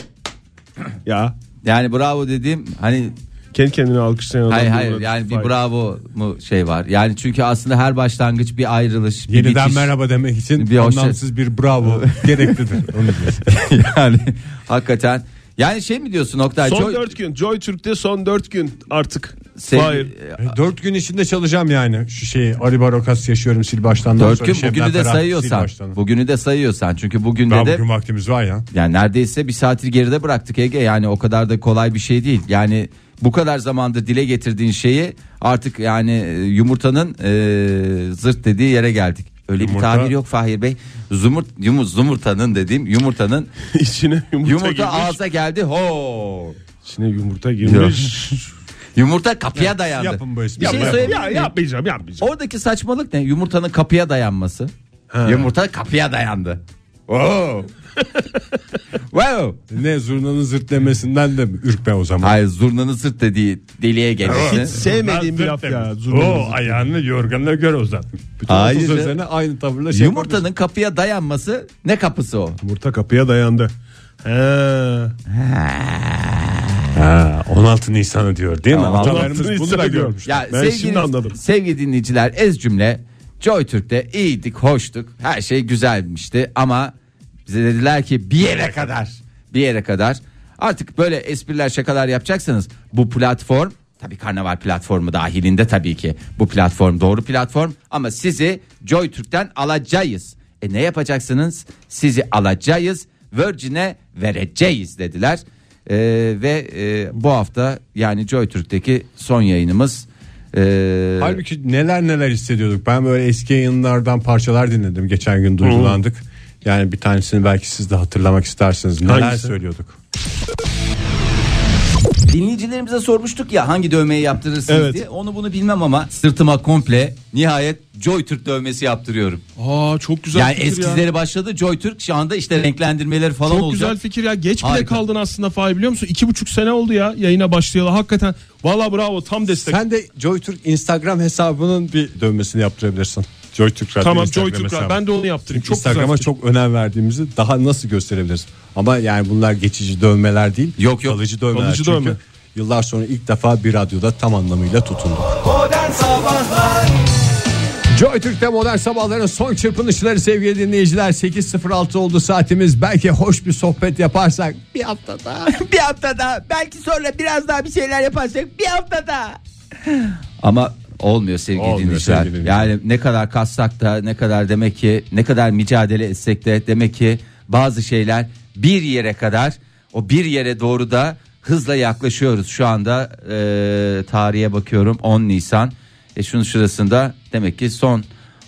[SPEAKER 5] Ya
[SPEAKER 4] Yani bravo dediğim hani
[SPEAKER 5] kendi kendine alkışlayan adam.
[SPEAKER 4] hayır
[SPEAKER 5] değil
[SPEAKER 4] hayır
[SPEAKER 5] mi?
[SPEAKER 4] yani bir
[SPEAKER 5] Hayır.
[SPEAKER 4] bravo mu şey var. Yani çünkü aslında her başlangıç bir ayrılış, bir
[SPEAKER 3] Yeniden
[SPEAKER 4] bitiş.
[SPEAKER 3] merhaba demek için
[SPEAKER 4] Bir hoşça-
[SPEAKER 3] anlamsız bir bravo gereklidir. Onu diyorsun.
[SPEAKER 4] yani hakikaten yani şey mi diyorsun Oktay?
[SPEAKER 5] Son
[SPEAKER 4] Joy-
[SPEAKER 5] 4 gün Joy Türk'te son 4 gün artık.
[SPEAKER 4] Sev-
[SPEAKER 5] Hayır.
[SPEAKER 3] E, Dört gün içinde çalacağım yani. Şu şeyi Ali Barokas yaşıyorum sil baştan.
[SPEAKER 4] Dört gün bugünü de sayıyorsan. Bugünü de sayıyorsan. Çünkü bugün de,
[SPEAKER 3] Daha
[SPEAKER 4] de
[SPEAKER 3] bugün vaktimiz var ya.
[SPEAKER 4] yani neredeyse bir saati geride bıraktık Ege. Yani o kadar da kolay bir şey değil. Yani bu kadar zamanda dile getirdiğin şeyi artık yani e, yumurtanın e, zırt dediği yere geldik. Öyle
[SPEAKER 3] Yumurta-
[SPEAKER 4] bir tabir yok Fahir Bey. Zumurt, yumur, zumurtanın dediğim yumurtanın
[SPEAKER 5] İçine yumurta,
[SPEAKER 4] yumurta
[SPEAKER 5] girmiş.
[SPEAKER 4] ağza geldi. Ho!
[SPEAKER 5] İçine yumurta girmiş.
[SPEAKER 4] Yumurta kapıya dayandı.
[SPEAKER 3] yapın bu espriyi.
[SPEAKER 4] Bir şey
[SPEAKER 3] Yapın.
[SPEAKER 4] söyleyebilir
[SPEAKER 5] ya,
[SPEAKER 4] miyim?
[SPEAKER 5] yapmayacağım yapmayacağım.
[SPEAKER 4] Oradaki saçmalık ne? Yumurtanın kapıya dayanması. Yumurta kapıya dayandı. Oo. wow.
[SPEAKER 3] Ne zurnanın zırtlemesinden de mi? ürkme o zaman.
[SPEAKER 4] Hayır zurnanın sırt dediği deliğe gelmesi.
[SPEAKER 5] Sevmediğim bir laf ya.
[SPEAKER 3] O ayağını yorganına göre uzat. Bütün
[SPEAKER 4] Hayır
[SPEAKER 3] otuz
[SPEAKER 4] canım.
[SPEAKER 3] özene aynı tavırla şey yapıyorsun.
[SPEAKER 4] Yumurtanın kapıya dayanması ne kapısı o?
[SPEAKER 5] Yumurta kapıya dayandı. He.
[SPEAKER 3] Ha, 16 Nisan'ı diyor değil mi?
[SPEAKER 4] 16
[SPEAKER 3] Atalarımız bunu da
[SPEAKER 5] Nisan'ı diyor.
[SPEAKER 3] görmüş.
[SPEAKER 4] Ya
[SPEAKER 5] Ben
[SPEAKER 4] sevgili,
[SPEAKER 5] şimdi anladım.
[SPEAKER 4] sevgili dinleyiciler ez cümle Joy Türk'te iyiydik, hoştuk. Her şey güzelmişti ama bize dediler ki bir yere kadar. Bir yere kadar. Artık böyle espriler, şakalar yapacaksanız bu platform tabii karnaval platformu dahilinde tabii ki. Bu platform doğru platform ama sizi Joy Türk'ten alacağız. E ne yapacaksınız? Sizi alacağız, Virgin'e vereceğiz dediler. E, ve e, bu hafta yani Joy Türk'teki son yayınımız. E,
[SPEAKER 3] Halbuki neler neler hissediyorduk. Ben böyle eski yayınlardan parçalar dinledim. Geçen gün duygulandık. Yani bir tanesini belki siz de hatırlamak istersiniz. Neler
[SPEAKER 5] Hangisi?
[SPEAKER 3] söylüyorduk.
[SPEAKER 4] Dinleyicilerimize sormuştuk ya hangi dövmeyi yaptırırsınız
[SPEAKER 5] Evet.
[SPEAKER 4] diye. Onu bunu bilmem ama sırtıma komple nihayet Joy Türk dövmesi yaptırıyorum.
[SPEAKER 5] Aa çok güzel
[SPEAKER 4] Yani
[SPEAKER 5] fikir
[SPEAKER 4] eskizleri
[SPEAKER 5] ya.
[SPEAKER 4] başladı. Joy Türk şu anda işte renklendirmeleri falan
[SPEAKER 5] Çok
[SPEAKER 4] olacak.
[SPEAKER 5] güzel fikir ya. Geç bile
[SPEAKER 4] Harika.
[SPEAKER 5] kaldın aslında Fahri biliyor musun? İki buçuk sene oldu ya yayına başlayalı. Hakikaten valla bravo tam destek.
[SPEAKER 3] Sen de JoyTürk Instagram hesabının bir dövmesini yaptırabilirsin. JoyTürk Radyo
[SPEAKER 5] tamam
[SPEAKER 3] Instagram
[SPEAKER 5] Joy Türk
[SPEAKER 3] hesabı.
[SPEAKER 5] Radyo. Ben de onu yaptırayım. Çok
[SPEAKER 3] Instagram'a
[SPEAKER 5] güzel fikir.
[SPEAKER 3] çok önem verdiğimizi daha nasıl gösterebiliriz? Ama yani bunlar geçici dövmeler değil.
[SPEAKER 4] Yok, yok.
[SPEAKER 3] Kalıcı dövmeler.
[SPEAKER 5] Kalıcı
[SPEAKER 3] Çünkü
[SPEAKER 5] dövme.
[SPEAKER 3] yıllar sonra ilk defa bir radyoda tam anlamıyla tutunduk.
[SPEAKER 2] Modern Sabahlar
[SPEAKER 3] Joy Türk'te modern sabahların son çırpınışları sevgili dinleyiciler. 8.06 oldu saatimiz. Belki hoş bir sohbet yaparsak bir hafta daha.
[SPEAKER 4] bir haftada belki sonra biraz daha bir şeyler yaparsak bir haftada. Ama olmuyor sevgili
[SPEAKER 3] Olmuyor
[SPEAKER 4] dinleyiciler.
[SPEAKER 3] sevgili dinleyiciler.
[SPEAKER 4] Yani ne kadar kassak da ne kadar demek ki ne kadar mücadele etsek de demek ki bazı şeyler bir yere kadar o bir yere doğru da hızla yaklaşıyoruz. Şu anda e, tarihe bakıyorum 10 Nisan. E şunun şurasında demek ki son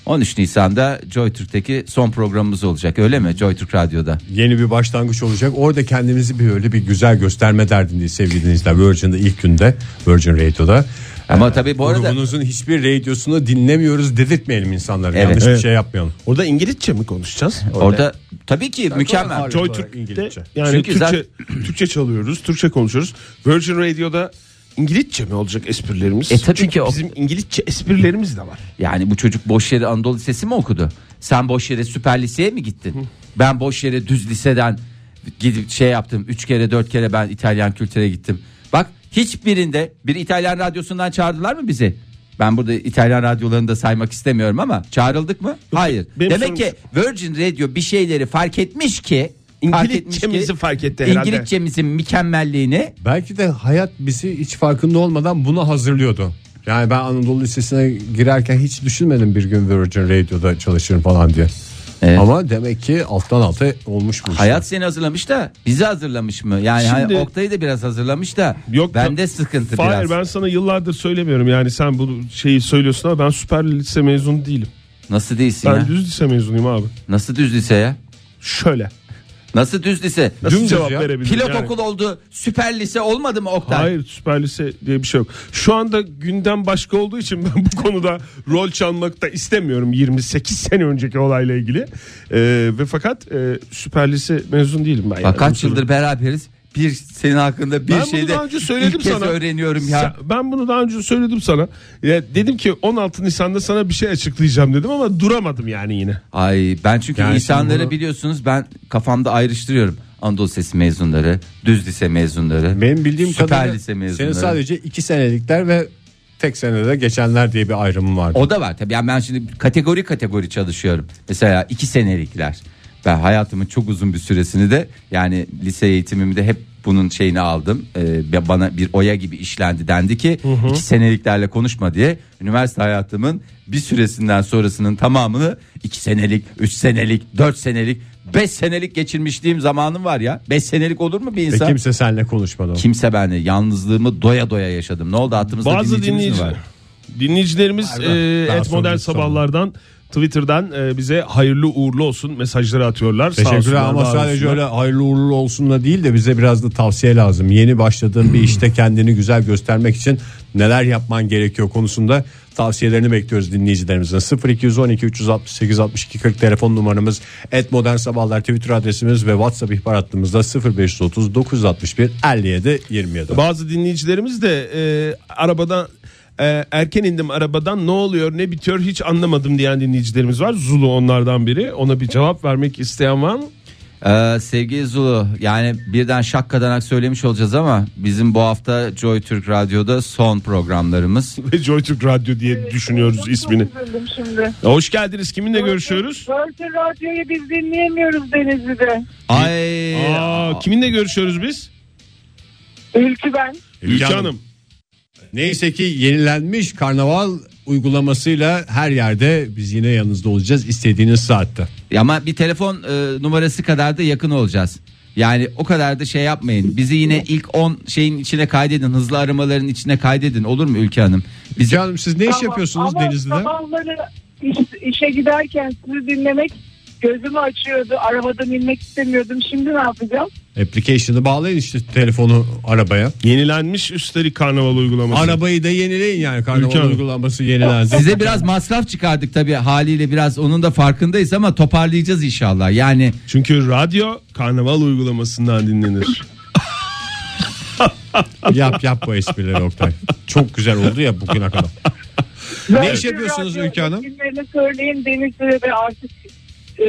[SPEAKER 4] 13 Nisan'da JoyTürk'teki son programımız olacak öyle mi? JoyTürk Radyo'da.
[SPEAKER 3] Yeni bir başlangıç olacak. Orada kendimizi bir öyle bir güzel gösterme derdindeyiz sevgili dinleyiciler. Virgin'de ilk günde Virgin Radio'da.
[SPEAKER 4] Ama tabii bu arada
[SPEAKER 3] Grubunuzun hiçbir radyosunu dinlemiyoruz dedirtmeyelim insanlara.
[SPEAKER 4] Evet.
[SPEAKER 3] Yanlış bir
[SPEAKER 5] Evet.
[SPEAKER 3] şey yapmayalım.
[SPEAKER 5] Orada İngilizce mi konuşacağız?
[SPEAKER 4] Orada tabii ki mükemmel.
[SPEAKER 3] ağırlık
[SPEAKER 5] Joy
[SPEAKER 3] olarak İngilizce.
[SPEAKER 5] Türk'te yani
[SPEAKER 4] Çünkü
[SPEAKER 5] Türkçe,
[SPEAKER 4] zaten-
[SPEAKER 5] Türkçe çalıyoruz, Türkçe konuşuyoruz. Virgin Radio'da İngilizce mi olacak esprilerimiz?
[SPEAKER 4] E tabii
[SPEAKER 5] Çünkü
[SPEAKER 4] ki o-
[SPEAKER 5] bizim İngilizce esprilerimiz de var.
[SPEAKER 4] Yani bu çocuk boş yere Anadolu Lisesi mi okudu? Sen boş yere süper liseye mi gittin? Ben boş yere düz liseden gidip şey yaptım. Üç kere dört kere ben İtalyan kültüre gittim. Bak hiçbirinde bir İtalyan radyosundan çağırdılar mı bizi? Ben burada İtalyan radyolarını da saymak istemiyorum ama çağrıldık mı? Hayır.
[SPEAKER 5] benim
[SPEAKER 4] Demek
[SPEAKER 5] sorum
[SPEAKER 4] ki Virgin Radio bir şeyleri fark etmiş ki fark etmiş ki-
[SPEAKER 5] İngilizcemizi fark etti herhalde.
[SPEAKER 4] İngilizcemizin mükemmelliğini
[SPEAKER 3] Belki de hayat bizi hiç farkında olmadan buna hazırlıyordu. Yani ben Anadolu Lisesi'ne girerken hiç düşünmedim bir gün Virgin Radio'da çalışırım falan diye.
[SPEAKER 4] Evet.
[SPEAKER 3] Ama demek ki alttan alta olmuş bu işler.
[SPEAKER 4] Hayat seni hazırlamış da bizi hazırlamış mı? Yani
[SPEAKER 5] Şimdi-
[SPEAKER 4] hani Oktay'ı da biraz hazırlamış da
[SPEAKER 5] Yok,
[SPEAKER 4] bende sıkıntı
[SPEAKER 5] Hayır
[SPEAKER 4] biraz.
[SPEAKER 5] ben sana yıllardır söylemiyorum yani sen bu şeyi söylüyorsun ama ben süper lise mezunu değilim.
[SPEAKER 4] Nasıl değilsin
[SPEAKER 5] Ben
[SPEAKER 4] ya?
[SPEAKER 5] düz lise mezunuyum abi.
[SPEAKER 4] Nasıl düz lise ya?
[SPEAKER 5] Şöyle.
[SPEAKER 4] Nasıl düz lise?
[SPEAKER 5] Nasıl
[SPEAKER 3] Dümdüz
[SPEAKER 5] cevap
[SPEAKER 3] ya.
[SPEAKER 5] verebilirim?
[SPEAKER 4] Pilot
[SPEAKER 5] yani?
[SPEAKER 4] okul oldu süper lise olmadı mı Oktay?
[SPEAKER 5] Hayır süper lise diye bir şey yok. Şu anda gündem başka olduğu için ben bu konuda rol çalmak da istemiyorum 28 sene önceki olayla ilgili. Ee, ve fakat e, süper lise mezun değilim ben. yani.
[SPEAKER 4] Bak kaç
[SPEAKER 5] Bunu
[SPEAKER 4] yıldır beraberiz. Bir senin hakkında bir
[SPEAKER 5] Ben bunu
[SPEAKER 4] şeyde
[SPEAKER 5] daha önce söyledim
[SPEAKER 4] ilk kez
[SPEAKER 5] sana.
[SPEAKER 4] öğreniyorum ya.
[SPEAKER 5] Sen- Ben bunu daha önce söyledim sana. Ya dedim ki 16 Nisan'da sana bir şey açıklayacağım dedim ama duramadım yani yine.
[SPEAKER 4] Ay ben çünkü
[SPEAKER 3] Yani şimdi
[SPEAKER 4] insanları
[SPEAKER 3] bunu-
[SPEAKER 4] biliyorsunuz ben kafamda ayrıştırıyorum. Anadolu Sesi mezunları, düz lise mezunları.
[SPEAKER 3] Benim bildiğim
[SPEAKER 4] süper
[SPEAKER 3] kadarıyla
[SPEAKER 4] lise
[SPEAKER 3] senin
[SPEAKER 4] mezunları.
[SPEAKER 3] sadece iki senelikler ve tek senede geçenler diye bir ayrımın vardı.
[SPEAKER 4] O da var tabii. Yani ben şimdi kategori kategori çalışıyorum. Mesela iki senelikler. Ben hayatımın çok uzun bir süresini de yani lise eğitimimde hep bunun şeyini aldım. Ee, ve bana bir oya gibi işlendi dendi ki iki seneliklerle konuşma diye. Üniversite hayatımın bir süresinden sonrasının tamamını iki senelik, üç senelik, dört senelik, beş senelik geçirmişliğim zamanım var ya. Beş senelik olur mu bir
[SPEAKER 3] Ve
[SPEAKER 4] insan? kimse...
[SPEAKER 3] kimse seninle konuşmadı.
[SPEAKER 4] kimse benle yalnızlığımı doya doya yaşadım. Ne oldu hatımızda
[SPEAKER 5] Bazı
[SPEAKER 4] dinleyicimiz mi
[SPEAKER 5] dinleyici,
[SPEAKER 4] var?
[SPEAKER 5] dinleyicilerimiz
[SPEAKER 3] Var, var.
[SPEAKER 5] e,
[SPEAKER 3] Daha
[SPEAKER 5] et
[SPEAKER 3] sonra
[SPEAKER 5] modern
[SPEAKER 3] bir sorun.
[SPEAKER 5] sabahlardan Twitter'dan e, bize hayırlı uğurlu olsun mesajları atıyorlar. Sağ
[SPEAKER 3] Teşekkürler
[SPEAKER 5] olsunlar,
[SPEAKER 3] ama
[SPEAKER 5] var
[SPEAKER 3] sadece
[SPEAKER 5] olsunlar.
[SPEAKER 3] öyle hayırlı uğurlu olsun da değil de bize biraz da tavsiye lazım. Yeni başladığın
[SPEAKER 5] Hmm.
[SPEAKER 3] bir işte kendini güzel göstermek için neler yapman gerekiyor konusunda tavsiyelerini bekliyoruz dinleyicilerimizden. 0212 368 62 40 telefon numaramız et modern sabahlar Twitter adresimiz ve WhatsApp ihbar hattımızda 0530 961 57 27.
[SPEAKER 5] Bazı dinleyicilerimiz de e, arabadan e, erken indim arabadan ne oluyor ne bitiyor hiç anlamadım diyen dinleyicilerimiz var. Zulu onlardan biri. Ona bir cevap vermek isteyen var mı?
[SPEAKER 4] Ee, sevgili Zulu yani birden şak kadanak söylemiş olacağız ama bizim bu hafta Joy Türk Radyo'da son programlarımız.
[SPEAKER 5] Ve JoyTürk Radyo diye düşünüyoruz
[SPEAKER 6] Çok
[SPEAKER 5] ismini.
[SPEAKER 6] üzüldüm şimdi.
[SPEAKER 5] Hoş geldiniz. Kiminle görüşüyoruz?
[SPEAKER 6] Virgin Radyo'yu biz dinleyemiyoruz Denizli'de.
[SPEAKER 4] Ay
[SPEAKER 5] Aa, kiminle görüşüyoruz biz?
[SPEAKER 6] Ülkü ben.
[SPEAKER 5] Ülke
[SPEAKER 3] Hanım.
[SPEAKER 5] Hanım.
[SPEAKER 3] Neyse ki yenilenmiş karnaval uygulamasıyla her yerde biz yine yanınızda olacağız istediğiniz saatte.
[SPEAKER 4] ama bir telefon e, numarası kadar da yakın olacağız. Yani o kadar da şey yapmayın. Bizi yine ilk 10 şeyin içine kaydedin. Hızlı aramaların içine kaydedin. Olur mu Ülke Hanım? Bizi
[SPEAKER 3] Canım siz ne iş yapıyorsunuz
[SPEAKER 6] ama
[SPEAKER 3] Denizli'de?
[SPEAKER 6] sabahları iş- işe giderken sizi dinlemek gözümü açıyordu. Arabadan inmek istemiyordum. Şimdi ne yapacağım?
[SPEAKER 3] Application'ı bağlayın işte telefonu arabaya.
[SPEAKER 5] Yenilenmiş üstelik karnaval uygulaması.
[SPEAKER 3] Arabayı da yenileyin yani
[SPEAKER 5] Ülke
[SPEAKER 3] karnaval
[SPEAKER 5] Hanım.
[SPEAKER 3] uygulaması yenilensin.
[SPEAKER 4] Size biraz masraf çıkardık tabii haliyle biraz onun da farkındayız ama toparlayacağız inşallah. Yani
[SPEAKER 5] Çünkü radyo karnaval uygulamasından dinlenir.
[SPEAKER 3] yap yap bu esprileri Oktay. Çok güzel oldu ya bugüne kadar. Ne iş yapıyorsunuz Ülke Hanım?
[SPEAKER 6] Günlerini söyleyin Denizli'de de artık e,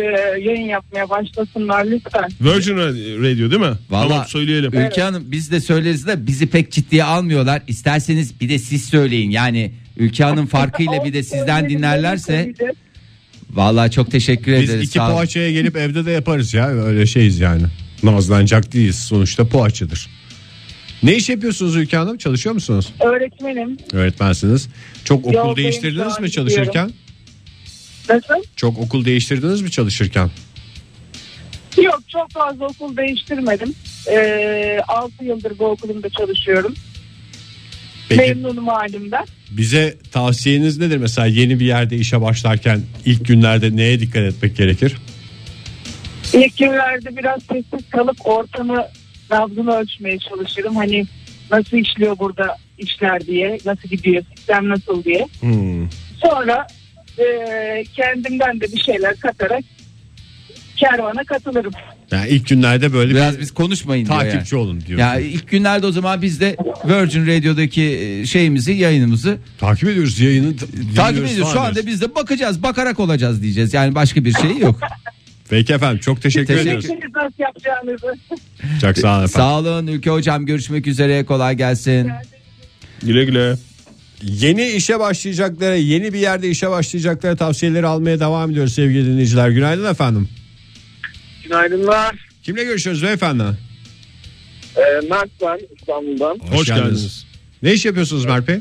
[SPEAKER 6] yayın yapmaya başlasınlar lütfen.
[SPEAKER 5] Virgin Radio değil mi?
[SPEAKER 4] Vallahi-
[SPEAKER 5] Tamam söyleyelim.
[SPEAKER 4] Ülke Hanım biz de söyleriz de bizi pek ciddiye almıyorlar. İsterseniz bir de siz söyleyin. Yani Ülke Hanım farkıyla bir de sizden dinlerlerse vallahi çok teşekkür
[SPEAKER 3] Biz
[SPEAKER 4] ederiz.
[SPEAKER 3] iki
[SPEAKER 4] Sağ olun.
[SPEAKER 3] poğaçaya gelip evde de yaparız ya öyle şeyiz yani. Nazlanacak değiliz sonuçta poğaçadır. Ne iş yapıyorsunuz Ülke Hanım? Çalışıyor musunuz?
[SPEAKER 6] Öğretmenim.
[SPEAKER 3] Öğretmensiniz. Çok okul
[SPEAKER 6] Yoldayım, şu
[SPEAKER 3] değiştirdiniz
[SPEAKER 6] an
[SPEAKER 3] mi çalışırken?
[SPEAKER 6] gidiyorum. Nasıl?
[SPEAKER 3] Çok okul değiştirdiniz mi çalışırken?
[SPEAKER 6] Yok çok fazla okul değiştirmedim. Ee, 6 yıldır bu okulumda çalışıyorum.
[SPEAKER 3] Peki
[SPEAKER 6] Memnunum halimden.
[SPEAKER 3] bize tavsiyeniz nedir mesela yeni bir yerde işe başlarken ilk günlerde neye dikkat etmek gerekir?
[SPEAKER 6] İlk günlerde biraz sessiz kalıp ortamı nabzını ölçmeye çalışırım. Hani nasıl işliyor burada işler diye, nasıl gidiyor, sistem nasıl diye.
[SPEAKER 4] Hmm.
[SPEAKER 6] Sonra ee, kendimden de bir şeyler katarak kervana katılırım.
[SPEAKER 3] Yani ilk günlerde böyle
[SPEAKER 4] Biraz
[SPEAKER 3] bir
[SPEAKER 4] biz konuşmayın diyor yani.
[SPEAKER 3] takipçi olun diyor.
[SPEAKER 4] Ya ilk günlerde o zaman biz de Virgin Radio'daki e, şeyimizi yayınımızı
[SPEAKER 3] takip ediyoruz yayını. t-
[SPEAKER 4] takip
[SPEAKER 3] dinliyoruz
[SPEAKER 4] ediyoruz. Şu
[SPEAKER 3] falan
[SPEAKER 4] anda
[SPEAKER 3] diyoruz.
[SPEAKER 4] biz de bakacağız bakarak olacağız diyeceğiz. Yani başka bir şey yok.
[SPEAKER 3] Peki efendim çok teşekkür,
[SPEAKER 4] Teşekkür-
[SPEAKER 3] ediyoruz.
[SPEAKER 6] Bilirsiniz nasıl yapacağınızı.
[SPEAKER 3] Çok sağ olun efendim.
[SPEAKER 4] Sağ olun Ülke Hocam görüşmek üzere kolay gelsin.
[SPEAKER 5] Güle güle.
[SPEAKER 3] Yeni işe başlayacaklara, yeni bir yerde işe başlayacaklara tavsiyeleri almaya devam ediyoruz sevgili dinleyiciler. Günaydın efendim.
[SPEAKER 7] Günaydınlar.
[SPEAKER 3] Kimle görüşüyoruz beyefendi?
[SPEAKER 7] Ee, Mert ben İstanbul'dan.
[SPEAKER 5] Hoş, geldiniz.
[SPEAKER 3] Ne iş yapıyorsunuz Mert Bey?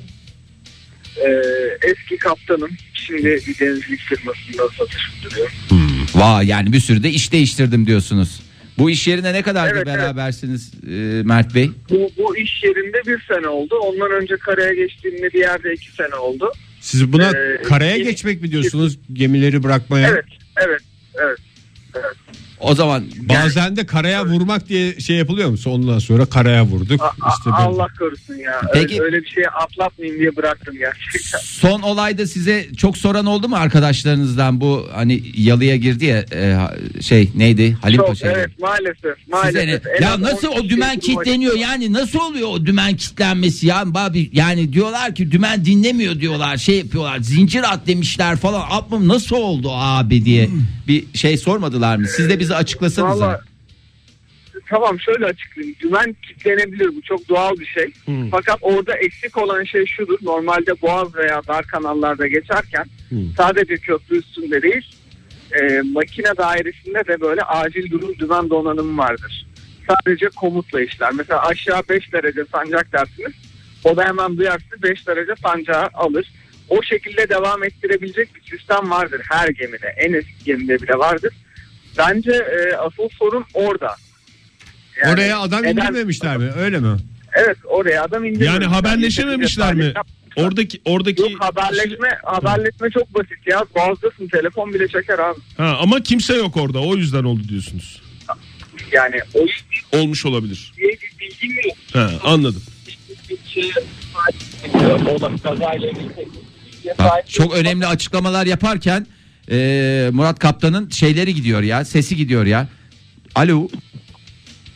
[SPEAKER 7] Ee, eski kaptanım. Şimdi bir denizlik firmasında satış müdürüyüm.
[SPEAKER 4] Vay yani bir sürü de iş değiştirdim diyorsunuz. Bu iş yerine ne kadardır
[SPEAKER 7] Evet, evet.
[SPEAKER 4] berabersiniz e, Mert Bey?
[SPEAKER 7] Bu, bu iş yerinde bir sene oldu. Ondan önce karaya geçtiğimde bir yerde iki sene oldu.
[SPEAKER 3] Siz buna
[SPEAKER 7] Ee,
[SPEAKER 3] karaya
[SPEAKER 7] yeni-
[SPEAKER 3] geçmek mi diyorsunuz? Gemileri bırakmaya.
[SPEAKER 7] Evet, evet.
[SPEAKER 4] O zaman
[SPEAKER 3] Bazen de karaya vurmak diye şey yapılıyor mu? Ondan sonra karaya vurduk.
[SPEAKER 7] A-
[SPEAKER 3] işte böyle.
[SPEAKER 7] Allah korusun ya. Öyle-
[SPEAKER 4] Peki.
[SPEAKER 7] Öyle bir şeye atlatmayayım diye bıraktım gerçekten.
[SPEAKER 4] son olayda size çok soran oldu mu arkadaşlarınızdan bu hani yalıya girdi ya e, ha- şey neydi Halil
[SPEAKER 7] Çok,
[SPEAKER 4] Paşa.
[SPEAKER 7] evet maalesef.
[SPEAKER 4] Size ne-
[SPEAKER 7] maalesef. En
[SPEAKER 4] ya
[SPEAKER 7] az
[SPEAKER 4] nasıl
[SPEAKER 7] 12
[SPEAKER 4] o dümen
[SPEAKER 7] kişi
[SPEAKER 4] kilitleniyor yani nasıl oluyor o dümen kilitlenmesi ya abi yani diyorlar ki dümen dinlemiyor diyorlar şey yapıyorlar zincir at demişler falan atmam nasıl oldu abi diye bir şey sormadılar mı siz de bize açıklasanız
[SPEAKER 7] Valla tamam şöyle açıklayayım. Dümen kilitlenebilir bu çok doğal bir şey. Fakat orada eksik olan şey şudur. Normalde boğaz veya dar kanallarda geçerken sadece köprü üstünde değil e, makine dairesinde de böyle acil durum dümen donanımı vardır. Sadece komutla işler. Mesela aşağı 5 derece sancak dersiniz. O da hemen duyar sizi 5 derece sancağı alır. O şekilde devam ettirebilecek bir sistem vardır her gemide. En eski gemide bile vardır. Bence e, asıl sorun orada. Yani
[SPEAKER 3] Oraya adam
[SPEAKER 7] neden-
[SPEAKER 3] indirmemişler mi? Öyle mi?
[SPEAKER 7] Evet oraya adam indirmemişler.
[SPEAKER 5] Yani haberleşememişler mi? Oradaki oradaki
[SPEAKER 7] Yok haberleşme, haberleşme çok basit ya. Boğazdasın telefon bile çeker abi.
[SPEAKER 5] Ha, ama kimse yok orada. O yüzden oldu diyorsunuz.
[SPEAKER 7] Yani o iş değil
[SPEAKER 5] Olmuş olabilir.
[SPEAKER 7] diye bir bilgim yok.
[SPEAKER 5] Ha, anladım.
[SPEAKER 4] Bak, çok önemli açıklamalar yaparken e, Murat Kaptan'ın şeyleri gidiyor ya sesi gidiyor ya. Alo.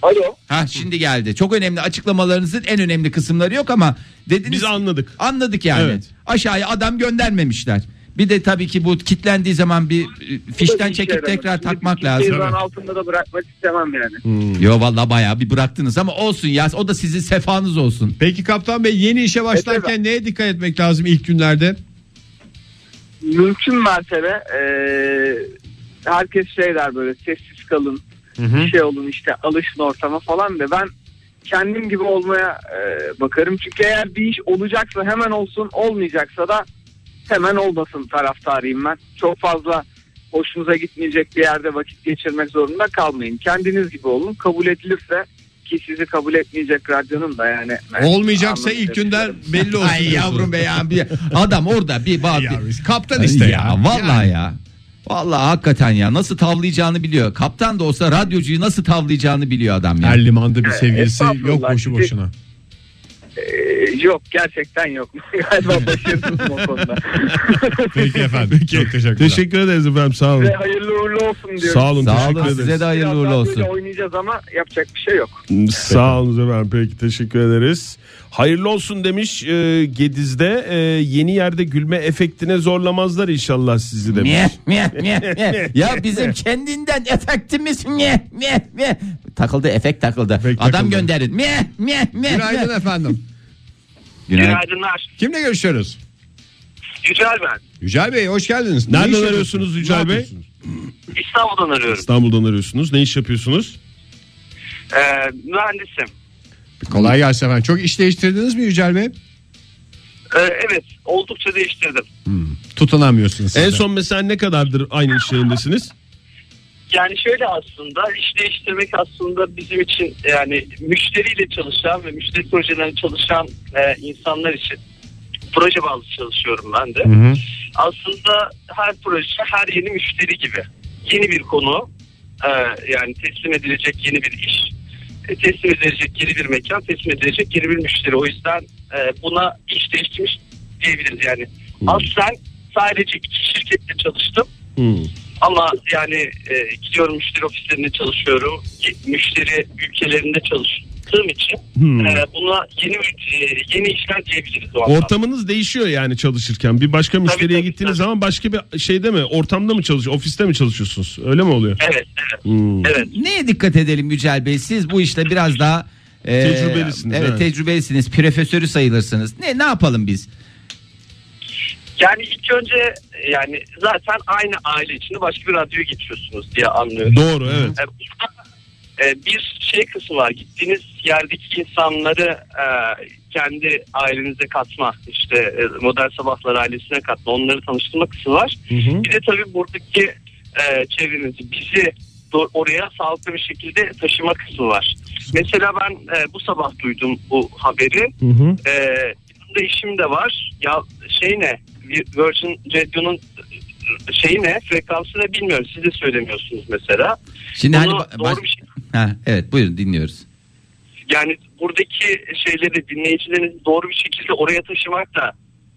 [SPEAKER 7] Alo.
[SPEAKER 4] Ha şimdi geldi. Çok önemli açıklamalarınızın en önemli kısımları yok ama dediniz
[SPEAKER 5] Biz
[SPEAKER 4] ki-
[SPEAKER 5] anladık.
[SPEAKER 4] Anladık yani.
[SPEAKER 5] Evet.
[SPEAKER 4] Aşağıya adam göndermemişler. Bir de tabii ki bu kitlendiği zaman bir e, fişten
[SPEAKER 7] Bir şey
[SPEAKER 4] çekip
[SPEAKER 7] yaramaz.
[SPEAKER 4] tekrar
[SPEAKER 7] Şimdi
[SPEAKER 4] takmak
[SPEAKER 7] bir
[SPEAKER 4] lazım.
[SPEAKER 7] şeyi Ben altında da bırakmak istemem yani.
[SPEAKER 4] Yo vallahi bayağı bir bıraktınız ama olsun ya o da sizin sefanız olsun.
[SPEAKER 3] Peki kaptan bey yeni işe başlarken neye dikkat etmek lazım ilk günlerde?
[SPEAKER 7] mümkün mertebe e, herkes şey der böyle sessiz kalın bir şey olun işte alışın ortama falan de ben kendim gibi olmaya e, bakarım çünkü eğer bir iş olacaksa hemen olsun olmayacaksa da hemen olmasın taraftarıyım ben çok fazla
[SPEAKER 8] hoşunuza gitmeyecek bir yerde vakit geçirmek zorunda kalmayın. Kendiniz gibi olun. Kabul edilirse ki sizi kabul etmeyecek radyonun da yani.
[SPEAKER 7] Olmayacaksa
[SPEAKER 8] Anlamı
[SPEAKER 7] ilk günden
[SPEAKER 8] verebilirim.
[SPEAKER 7] belli olsun.
[SPEAKER 3] Ay
[SPEAKER 7] diyorsun.
[SPEAKER 3] yavrum be ya, bir-
[SPEAKER 7] adam orada bir bak.
[SPEAKER 3] Ya,
[SPEAKER 7] bir-
[SPEAKER 3] kaptan işte
[SPEAKER 7] Ay
[SPEAKER 3] ya.
[SPEAKER 7] Vallahi ya. Vallahi hakikaten ya nasıl tavlayacağını biliyor. Kaptan da olsa radyocuyu nasıl tavlayacağını biliyor adam ya.
[SPEAKER 3] Her limanda bir sevgilisi
[SPEAKER 8] Estağfurullah,
[SPEAKER 3] yok boşu
[SPEAKER 8] sizi-
[SPEAKER 3] boşuna.
[SPEAKER 8] Ee, yok gerçekten yok. Galiba başarısızım o konuda.
[SPEAKER 3] Peki efendim. Çok teşekkürler.
[SPEAKER 5] Teşekkür ederiz efendim sağ olun.
[SPEAKER 8] Ve hayırlı uğurlu olsun diyorum.
[SPEAKER 5] Sağ olun
[SPEAKER 4] Sağ
[SPEAKER 5] teşekkür
[SPEAKER 4] olun
[SPEAKER 5] ederiz.
[SPEAKER 4] size de hayırlı
[SPEAKER 8] Biraz
[SPEAKER 4] uğurlu
[SPEAKER 8] daha
[SPEAKER 4] olsun.
[SPEAKER 8] böyle oynayacağız ama yapacak bir şey yok.
[SPEAKER 5] Sağ olun efendim peki teşekkür ederiz. Hayırlı olsun demiş e, Gediz'de e, yeni yerde gülme efektine zorlamazlar inşallah sizi demiş.
[SPEAKER 4] Meh, meh, meh, meh. ya bizim kendinden efektimiz meh, meh, meh. takıldı efekt takıldı.
[SPEAKER 3] Efekt
[SPEAKER 4] Adam
[SPEAKER 3] takıldı.
[SPEAKER 4] gönderin. Meh, meh, meh,
[SPEAKER 3] Günaydın
[SPEAKER 4] meh.
[SPEAKER 3] efendim.
[SPEAKER 4] Günaydın.
[SPEAKER 8] Günaydınlar.
[SPEAKER 3] Kimle görüşüyoruz?
[SPEAKER 8] Güzel ben.
[SPEAKER 3] Yücel Bey hoş geldiniz. Ne
[SPEAKER 5] Nereden
[SPEAKER 3] iş
[SPEAKER 5] arıyorsunuz
[SPEAKER 3] yapıyorsunuz?
[SPEAKER 5] Yücel
[SPEAKER 3] Ne
[SPEAKER 5] Bey?
[SPEAKER 3] yapıyorsunuz?
[SPEAKER 8] İstanbul'dan arıyorum.
[SPEAKER 5] İstanbul'dan arıyorsunuz. Ne iş yapıyorsunuz?
[SPEAKER 8] Ee, mühendisim.
[SPEAKER 3] Kolay gelsin efendim. Çok iş değiştirdiniz mi Yücel Bey?
[SPEAKER 8] Ee, evet oldukça değiştirdim.
[SPEAKER 3] Tutunamıyorsunuz. siz
[SPEAKER 5] En
[SPEAKER 3] de.
[SPEAKER 5] son mesela ne kadardır aynı iş yerindesiniz?
[SPEAKER 8] Yani şöyle aslında iş değiştirmek aslında bizim için yani müşteriyle çalışan ve müşteri projelerinde çalışan e, insanlar için proje bazlı çalışıyorum ben de. Aslında her proje her yeni müşteri gibi. Yeni bir konu e, yani teslim edilecek yeni bir iş. e, teslim edilecek yeni bir mekan, teslim edilecek yeni bir müşteri. O yüzden e, buna iş değiştirmiş diyebiliriz yani. Aslen sadece iki şirkette çalıştım.
[SPEAKER 5] Hmm.
[SPEAKER 8] Ama yani e, gidiyorum müşteri ofislerinde çalışıyorum. Müşteri ülkelerinde çalıştığım için e, buna yeni e, yeni işler diyebiliriz o anlamda.
[SPEAKER 5] Ortamınız değişiyor yani çalışırken. Bir başka müşteriye
[SPEAKER 8] tabii,
[SPEAKER 5] gittiğiniz
[SPEAKER 8] tabii.
[SPEAKER 5] zaman başka bir şeyde mi? Ortamda mı çalışıyorsunuz? Ofiste mi çalışıyorsunuz? Öyle mi oluyor?
[SPEAKER 8] Evet, evet.
[SPEAKER 5] Hmm.
[SPEAKER 8] Evet.
[SPEAKER 4] Neye dikkat edelim Yücel Bey? Siz bu işte biraz daha e,
[SPEAKER 5] Tecrübelisiniz,
[SPEAKER 4] Evet,
[SPEAKER 5] evet.
[SPEAKER 4] tecrübelisiniz. Profesörü sayılırsınız. Ne ne yapalım biz?
[SPEAKER 8] Yani ilk önce e, yani zaten aynı aile içinde başka bir radyoya geçiyorsunuz diye anlıyorum.
[SPEAKER 5] Doğru evet.
[SPEAKER 8] E, e, bir şey kısmı var. Gittiğiniz yerdeki insanları e, kendi ailenize katma, işte e, modern sabahlar ailesine katma, onları tanıştırma kısmı var. Bir de tabii buradaki e, çevrenizi, bizi do- oraya sağlıklı bir şekilde taşıma kısmı var. Mesela ben e, bu sabah duydum bu haberi. E, yanımda işim de var. Ya şey ne? Virgin Radio'nun e, şeyi ne? Frekansı ne bilmiyorum. Siz de söylemiyorsunuz mesela.
[SPEAKER 4] Şimdi
[SPEAKER 8] Bunu
[SPEAKER 4] hani ba-
[SPEAKER 8] doğru
[SPEAKER 4] baş-
[SPEAKER 8] bir şey-
[SPEAKER 4] ha, evet buyurun dinliyoruz.
[SPEAKER 8] Yani buradaki şeyleri dinleyicilerinizi doğru bir şekilde oraya taşımak da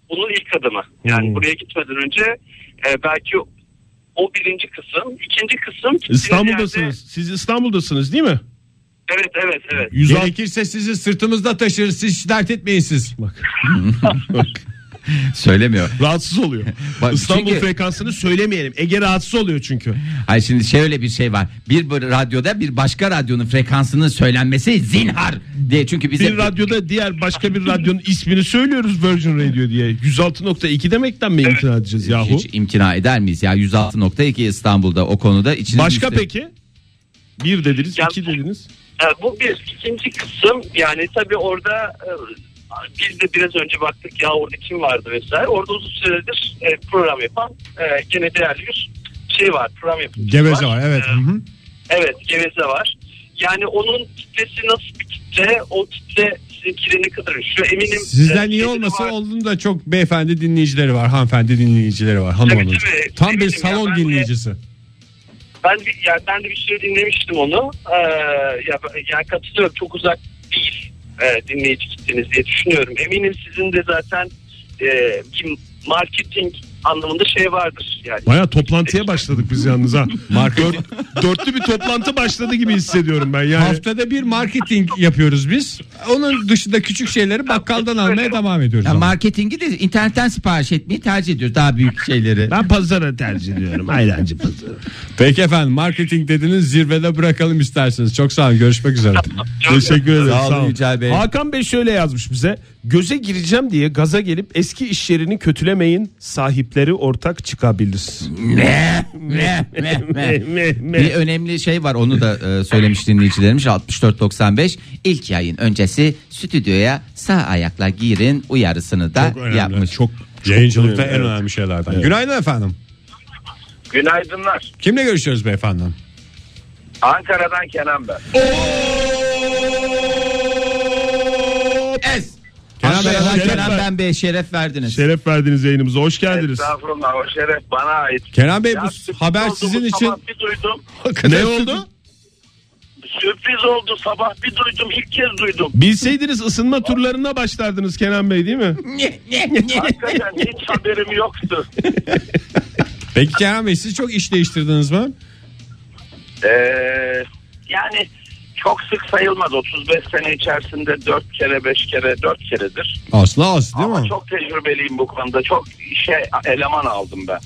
[SPEAKER 8] bunun ilk adımı. Yani buraya gitmeden önce e, belki o- o birinci kısım. ikinci kısım.
[SPEAKER 5] İstanbul'dasınız. Siz İstanbul'dasınız değil mi?
[SPEAKER 8] Evet evet evet.
[SPEAKER 5] 106
[SPEAKER 3] Gerekirse sizi sırtımızda taşırız. Siz hiç dert etmeyin siz.
[SPEAKER 4] Söylemiyor.
[SPEAKER 5] rahatsız oluyor.
[SPEAKER 4] Bak,
[SPEAKER 5] İstanbul
[SPEAKER 4] çünkü-
[SPEAKER 5] frekansını söylemeyelim. Ege rahatsız oluyor çünkü.
[SPEAKER 4] Hayır şimdi şöyle bir şey var. Bir bu- radyoda bir başka radyonun frekansının söylenmesi zinhar diye. Çünkü bize
[SPEAKER 5] Bir radyoda diğer başka bir radyonun ismini söylüyoruz Virgin Radio diye. 106.2 demekten mi imtina edeceğiz yahu?
[SPEAKER 4] hiç imtina eder miyiz ya 106.2 İstanbul'da o konuda içiniz
[SPEAKER 5] Başka
[SPEAKER 4] müste-
[SPEAKER 5] peki? Bir dediniz,
[SPEAKER 8] Ya-
[SPEAKER 5] iki dediniz.
[SPEAKER 8] E, bu bir. ikinci kısım yani tabii orada e, biz de biraz önce baktık ya orada kim vardı vesaire. Orada uzun süredir e, program yapan e, gene değerli bir şey var. Program yapıcısı
[SPEAKER 3] Geveze var evet.
[SPEAKER 8] E,
[SPEAKER 3] Hı hı.
[SPEAKER 8] Evet geveze var. Yani onun kitlesi nasıl bir kitle o kitle sizinkine ne kadar üşüyor eminim.
[SPEAKER 3] Sizden
[SPEAKER 8] e,
[SPEAKER 3] iyi
[SPEAKER 8] şeyleri
[SPEAKER 3] olmasa
[SPEAKER 8] var.
[SPEAKER 3] onun da çok beyefendi dinleyicileri var. Hanımefendi dinleyicileri var. Hanım
[SPEAKER 8] Tabii,
[SPEAKER 3] hanım.
[SPEAKER 8] tabii.
[SPEAKER 3] Tam bir
[SPEAKER 8] Eminim ya,
[SPEAKER 3] salon
[SPEAKER 8] ben de-
[SPEAKER 3] dinleyicisi.
[SPEAKER 8] Ben bir, yani ben de bir süre dinlemiştim onu. Ee, ya, yani katılıyorum çok uzak değil e, dinleyici kitleniz diye düşünüyorum. Eminim sizin de zaten e, bir marketing anlamında şey vardır yani.
[SPEAKER 5] Baya toplantıya başladık biz yalnız ha. Dört- dörtlü bir toplantı başladı gibi hissediyorum ben yani.
[SPEAKER 3] Haftada bir marketing yapıyoruz biz. Onun dışında küçük şeyleri bakkaldan almaya devam ediyoruz.
[SPEAKER 4] Ya
[SPEAKER 3] ama.
[SPEAKER 4] marketingi de internetten sipariş etmeyi tercih ediyoruz daha büyük şeyleri.
[SPEAKER 5] Ben pazara tercih ediyorum. Aylancı pazarı.
[SPEAKER 3] Peki efendim marketing dediniz zirvede bırakalım isterseniz. Çok sağ olun görüşmek üzere.
[SPEAKER 5] Teşekkür ederim.
[SPEAKER 4] Sağ olun Yücel Bey.
[SPEAKER 5] Hakan Bey şöyle yazmış bize. Göze gireceğim diye gaza gelip eski iş yerini kötülemeyin. Sahipleri ortak çıkabilir.
[SPEAKER 4] Ne? Ne? Ne? Ne?
[SPEAKER 5] Meh, meh.
[SPEAKER 4] Bir önemli şey var onu da e, söylemiş dinleyicilerimiz 64.95 ilk yayın öncesi stüdyoya sağ ayakla girin uyarısını da
[SPEAKER 3] Çok önemli.
[SPEAKER 4] yapmış.
[SPEAKER 3] Çok Yayıncılıkta en önemli şeylerden. Günaydın efendim.
[SPEAKER 8] Günaydınlar.
[SPEAKER 3] Kimle görüşüyoruz beyefendi?
[SPEAKER 8] Ankara'dan Kenan ben.
[SPEAKER 9] Es.
[SPEAKER 5] Kenan Bey,
[SPEAKER 10] Kenan,
[SPEAKER 5] şeref ver-
[SPEAKER 10] ben Bey şeref verdiniz.
[SPEAKER 5] Şeref verdiniz yayınımıza. Hoş geldiniz.
[SPEAKER 8] Estağfurullah o şeref bana ait.
[SPEAKER 3] Kenan Bey
[SPEAKER 8] Ya
[SPEAKER 3] bu
[SPEAKER 8] sürpriz
[SPEAKER 3] haber
[SPEAKER 8] oldu
[SPEAKER 3] sizin
[SPEAKER 8] bu
[SPEAKER 3] için
[SPEAKER 8] Sabah bir duydum.
[SPEAKER 5] ne oldu?
[SPEAKER 8] Sürpriz oldu sabah bir duydum ilk kez duydum.
[SPEAKER 5] Bilseydiniz ısınma turlarına başlardınız Kenan Bey değil mi?
[SPEAKER 8] Hakikaten hiç haberim yoktu.
[SPEAKER 3] Peki Kenan Bey siz çok iş değiştirdiniz mi?
[SPEAKER 8] Ee, yani çok sık sayılmaz 35 sene içerisinde 4 kere 5 kere 4 keredir.
[SPEAKER 3] Asla az değil
[SPEAKER 8] Ama
[SPEAKER 3] mi?
[SPEAKER 8] çok tecrübeliyim bu konuda çok işe eleman aldım ben.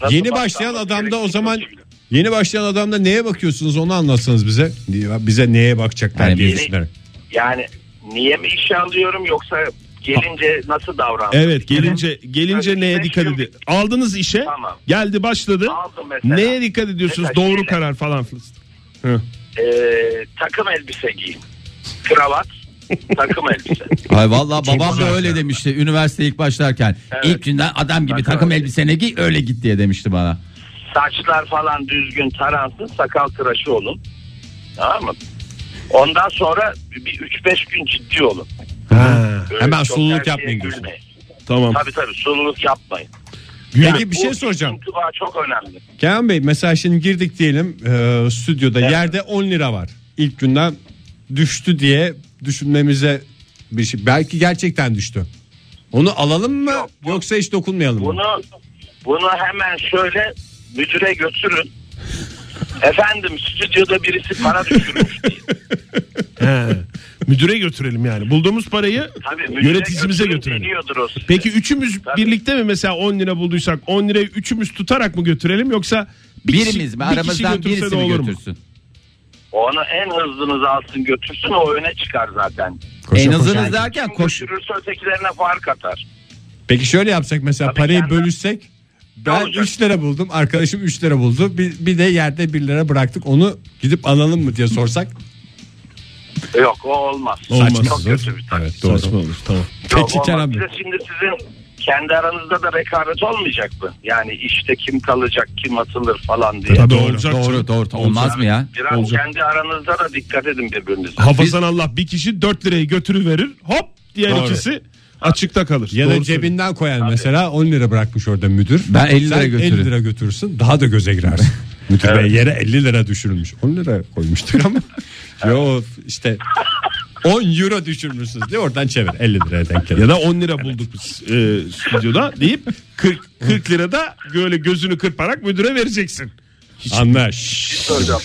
[SPEAKER 8] Nasıl
[SPEAKER 3] Yeni başlayan
[SPEAKER 8] başlanması
[SPEAKER 3] adamda o
[SPEAKER 8] gerektiğini
[SPEAKER 3] zaman
[SPEAKER 8] biliyorum.
[SPEAKER 3] yeni başlayan adamda neye bakıyorsunuz onu anlatsanız bize. Bize neye bakacaklar
[SPEAKER 4] Yani
[SPEAKER 3] diye
[SPEAKER 8] biri-
[SPEAKER 3] düşünüyorum.
[SPEAKER 8] Yani niye mi işe alıyorum yoksa gelince nasıl davrandım?
[SPEAKER 5] Evet gelince gelince
[SPEAKER 8] Yani
[SPEAKER 5] neye
[SPEAKER 8] beş
[SPEAKER 5] dikkat
[SPEAKER 8] yıl-
[SPEAKER 5] edin? Aldınız işe
[SPEAKER 8] Tamam.
[SPEAKER 5] geldi başladı.
[SPEAKER 8] Aldım mesela.
[SPEAKER 5] Neye dikkat ediyorsunuz?
[SPEAKER 8] Mesela
[SPEAKER 5] Doğru
[SPEAKER 8] şöyle.
[SPEAKER 5] karar falan filan.
[SPEAKER 8] Ee, takım elbise giyin. Kravat, takım elbise.
[SPEAKER 9] Ay vallahi babam da öyle demişti üniversite ilk başlarken.
[SPEAKER 8] Evet.
[SPEAKER 9] İlk günden adam gibi
[SPEAKER 8] Bak
[SPEAKER 9] takım
[SPEAKER 8] öyle.
[SPEAKER 9] elbisene giy öyle git diye demişti bana.
[SPEAKER 8] Saçlar falan düzgün taransın, sakal tıraşı olun. Tamam mı? Ondan sonra bir 3-5 gün ciddi olun. Böyle
[SPEAKER 3] Hemen
[SPEAKER 8] çok
[SPEAKER 3] sululuk
[SPEAKER 8] her şeye
[SPEAKER 3] yapmayın diyorsun.
[SPEAKER 8] gülmeyin.
[SPEAKER 5] Tamam.
[SPEAKER 8] Tabii tabii sululuk yapmayın.
[SPEAKER 3] Peki bir
[SPEAKER 8] Bu
[SPEAKER 3] şey soracağım.
[SPEAKER 8] intiba çok önemli.
[SPEAKER 3] Kenan Bey mesela şimdi girdik diyelim e, stüdyoda yerde 10 lira var. İlk günden düştü diye düşünmemize bir şey. Belki gerçekten düştü. Onu alalım mı
[SPEAKER 8] Yok, yok.
[SPEAKER 3] yoksa hiç dokunmayalım mı?
[SPEAKER 8] Bunu bunu hemen şöyle müdüre götürün. Efendim stüdyoda birisi para düşürmüş diye.
[SPEAKER 5] He. Müdüre götürelim yani. Bulduğumuz parayı
[SPEAKER 8] Tabii müdüre
[SPEAKER 5] yöneticimize
[SPEAKER 8] götürün
[SPEAKER 5] götürelim.
[SPEAKER 8] deniyordur o size.
[SPEAKER 5] Peki üçümüz
[SPEAKER 8] Tabii.
[SPEAKER 5] birlikte mi mesela 10 lira bulduysak 10 lirayı üçümüz tutarak mı götürelim yoksa bir
[SPEAKER 9] Birimiz
[SPEAKER 5] kişi-
[SPEAKER 9] mi
[SPEAKER 5] bir kişi
[SPEAKER 9] aramızdan
[SPEAKER 5] götürse de
[SPEAKER 9] birisi mi
[SPEAKER 5] olur mu?
[SPEAKER 9] götürsün?
[SPEAKER 8] Onu en hızlınız alsın götürsün o öne çıkar zaten.
[SPEAKER 9] en azınız
[SPEAKER 8] Yani
[SPEAKER 9] derken
[SPEAKER 8] kim
[SPEAKER 9] koş.
[SPEAKER 8] Götürürse ötekilerine fark atar.
[SPEAKER 3] Peki şöyle yapsak mesela
[SPEAKER 8] Tabii
[SPEAKER 3] parayı
[SPEAKER 8] Kenan-
[SPEAKER 3] bölüşsek. Ben
[SPEAKER 8] olacak?
[SPEAKER 3] 3 lira buldum arkadaşım 3 lira buldu bir, bir de yerde 1 lira bıraktık onu gidip alalım mı diye sorsak.
[SPEAKER 8] Yok o olmaz.
[SPEAKER 5] Olmaz.
[SPEAKER 8] Çok kötü bir taktik.
[SPEAKER 3] Evet doğru.
[SPEAKER 5] Saçma olur tamam.
[SPEAKER 8] Yok,
[SPEAKER 3] Peki
[SPEAKER 8] olmaz.
[SPEAKER 3] Kenan
[SPEAKER 8] Bir
[SPEAKER 3] Bey.
[SPEAKER 8] de şimdi sizin kendi aranızda da rekabet olmayacak mı? Yani işte kim kalacak kim atılır falan diye.
[SPEAKER 5] Tabii
[SPEAKER 9] Doğru,
[SPEAKER 5] olacak.
[SPEAKER 9] doğru, doğru. Olmaz mı ya?
[SPEAKER 8] Biraz
[SPEAKER 5] Olacak.
[SPEAKER 8] kendi aranızda da dikkat edin birbirinize.
[SPEAKER 5] Hafızan Allah bir kişi 4 lirayı götürüverir hop diğer
[SPEAKER 3] Doğru.
[SPEAKER 5] ikisi açıkta kalır.
[SPEAKER 3] Ya
[SPEAKER 5] Doğru
[SPEAKER 3] da
[SPEAKER 5] söylüyorsun.
[SPEAKER 3] cebinden koyan mesela 10 lira bırakmış orada müdür.
[SPEAKER 9] Ben 50 lira
[SPEAKER 3] Sen
[SPEAKER 9] götürürüm.
[SPEAKER 3] 50 lira götürürsün daha da göze girersin. müdür bey yere 50 lira düşürülmüş. 10 lira koymuştuk ama. Yo işte 10 euro düşürmüşsünüz diye oradan çevir 50 liraya denk gelir.
[SPEAKER 5] ya da 10 lira bulduk biz e, stüdyoda deyip 40 40 lira da böyle gözünü kırparak müdüre vereceksin.
[SPEAKER 3] Anlaş.
[SPEAKER 8] Hocam,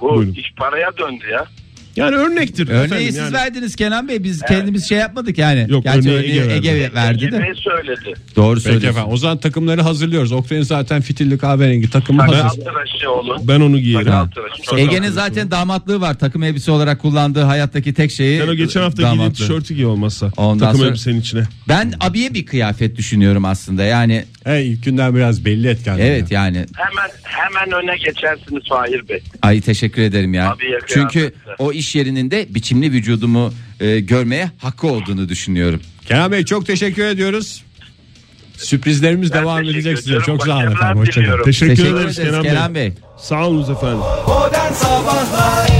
[SPEAKER 8] bu
[SPEAKER 5] Buyurun.
[SPEAKER 8] iş paraya döndü ya.
[SPEAKER 5] Yani örnektir. efendim
[SPEAKER 9] Örneği siz
[SPEAKER 5] yani.
[SPEAKER 9] verdiniz Kenan Bey biz kendimiz şey yapmadık yani.
[SPEAKER 5] Yok,
[SPEAKER 9] Gerçi
[SPEAKER 5] örneği
[SPEAKER 9] örneği
[SPEAKER 5] Ege
[SPEAKER 9] Ege, verdi de.
[SPEAKER 8] Ne söyledi?
[SPEAKER 9] Doğru
[SPEAKER 3] Peki
[SPEAKER 9] söylüyorsun.
[SPEAKER 3] efendim o zaman takımları hazırlıyoruz. Oktay'ın zaten fitilli kahverengi takımı
[SPEAKER 8] Sakal
[SPEAKER 3] hazır.
[SPEAKER 8] tıraşı olun.
[SPEAKER 5] Ben onu giyerim.
[SPEAKER 8] Sakal tıraşı. Çok
[SPEAKER 9] Ege'nin zaten damatlığı var. Takım elbise olarak kullandığı hayattaki tek şeyi
[SPEAKER 5] Ben o geçen hafta
[SPEAKER 9] damatlığı.
[SPEAKER 5] giydiğim tişörtü giy olmazsa.
[SPEAKER 9] Ondan
[SPEAKER 5] takım
[SPEAKER 9] sonra-
[SPEAKER 5] elbisenin içine.
[SPEAKER 9] Ben abiye bir kıyafet düşünüyorum aslında. Yani
[SPEAKER 3] Hey, ilk günden biraz belli et kendini.
[SPEAKER 9] evet yani
[SPEAKER 8] Hemen hemen öne geçersiniz Fahir Bey.
[SPEAKER 9] Ay teşekkür ederim ya.
[SPEAKER 8] Abi ya,
[SPEAKER 9] Çünkü
[SPEAKER 8] kıyafetler.
[SPEAKER 9] o iş yerinin de biçimli vücudumu e, görmeye hakkı olduğunu düşünüyorum.
[SPEAKER 3] Kenan Bey çok teşekkür ediyoruz. Sürprizlerimiz
[SPEAKER 8] Ben
[SPEAKER 3] devam
[SPEAKER 8] teşekkür
[SPEAKER 3] edecek size.
[SPEAKER 8] ediyorum.
[SPEAKER 3] Çok sağ olun
[SPEAKER 8] Başarılar
[SPEAKER 3] efendim. Hoşçakalın.
[SPEAKER 8] diliyorum.
[SPEAKER 5] Teşekkür,
[SPEAKER 9] Teşekkür
[SPEAKER 5] ederiz
[SPEAKER 9] ederiz
[SPEAKER 5] Kenan,
[SPEAKER 9] Kenan
[SPEAKER 5] Bey.
[SPEAKER 9] Bey.
[SPEAKER 5] Sağ olunuz efendim.
[SPEAKER 2] Modern Sabahlar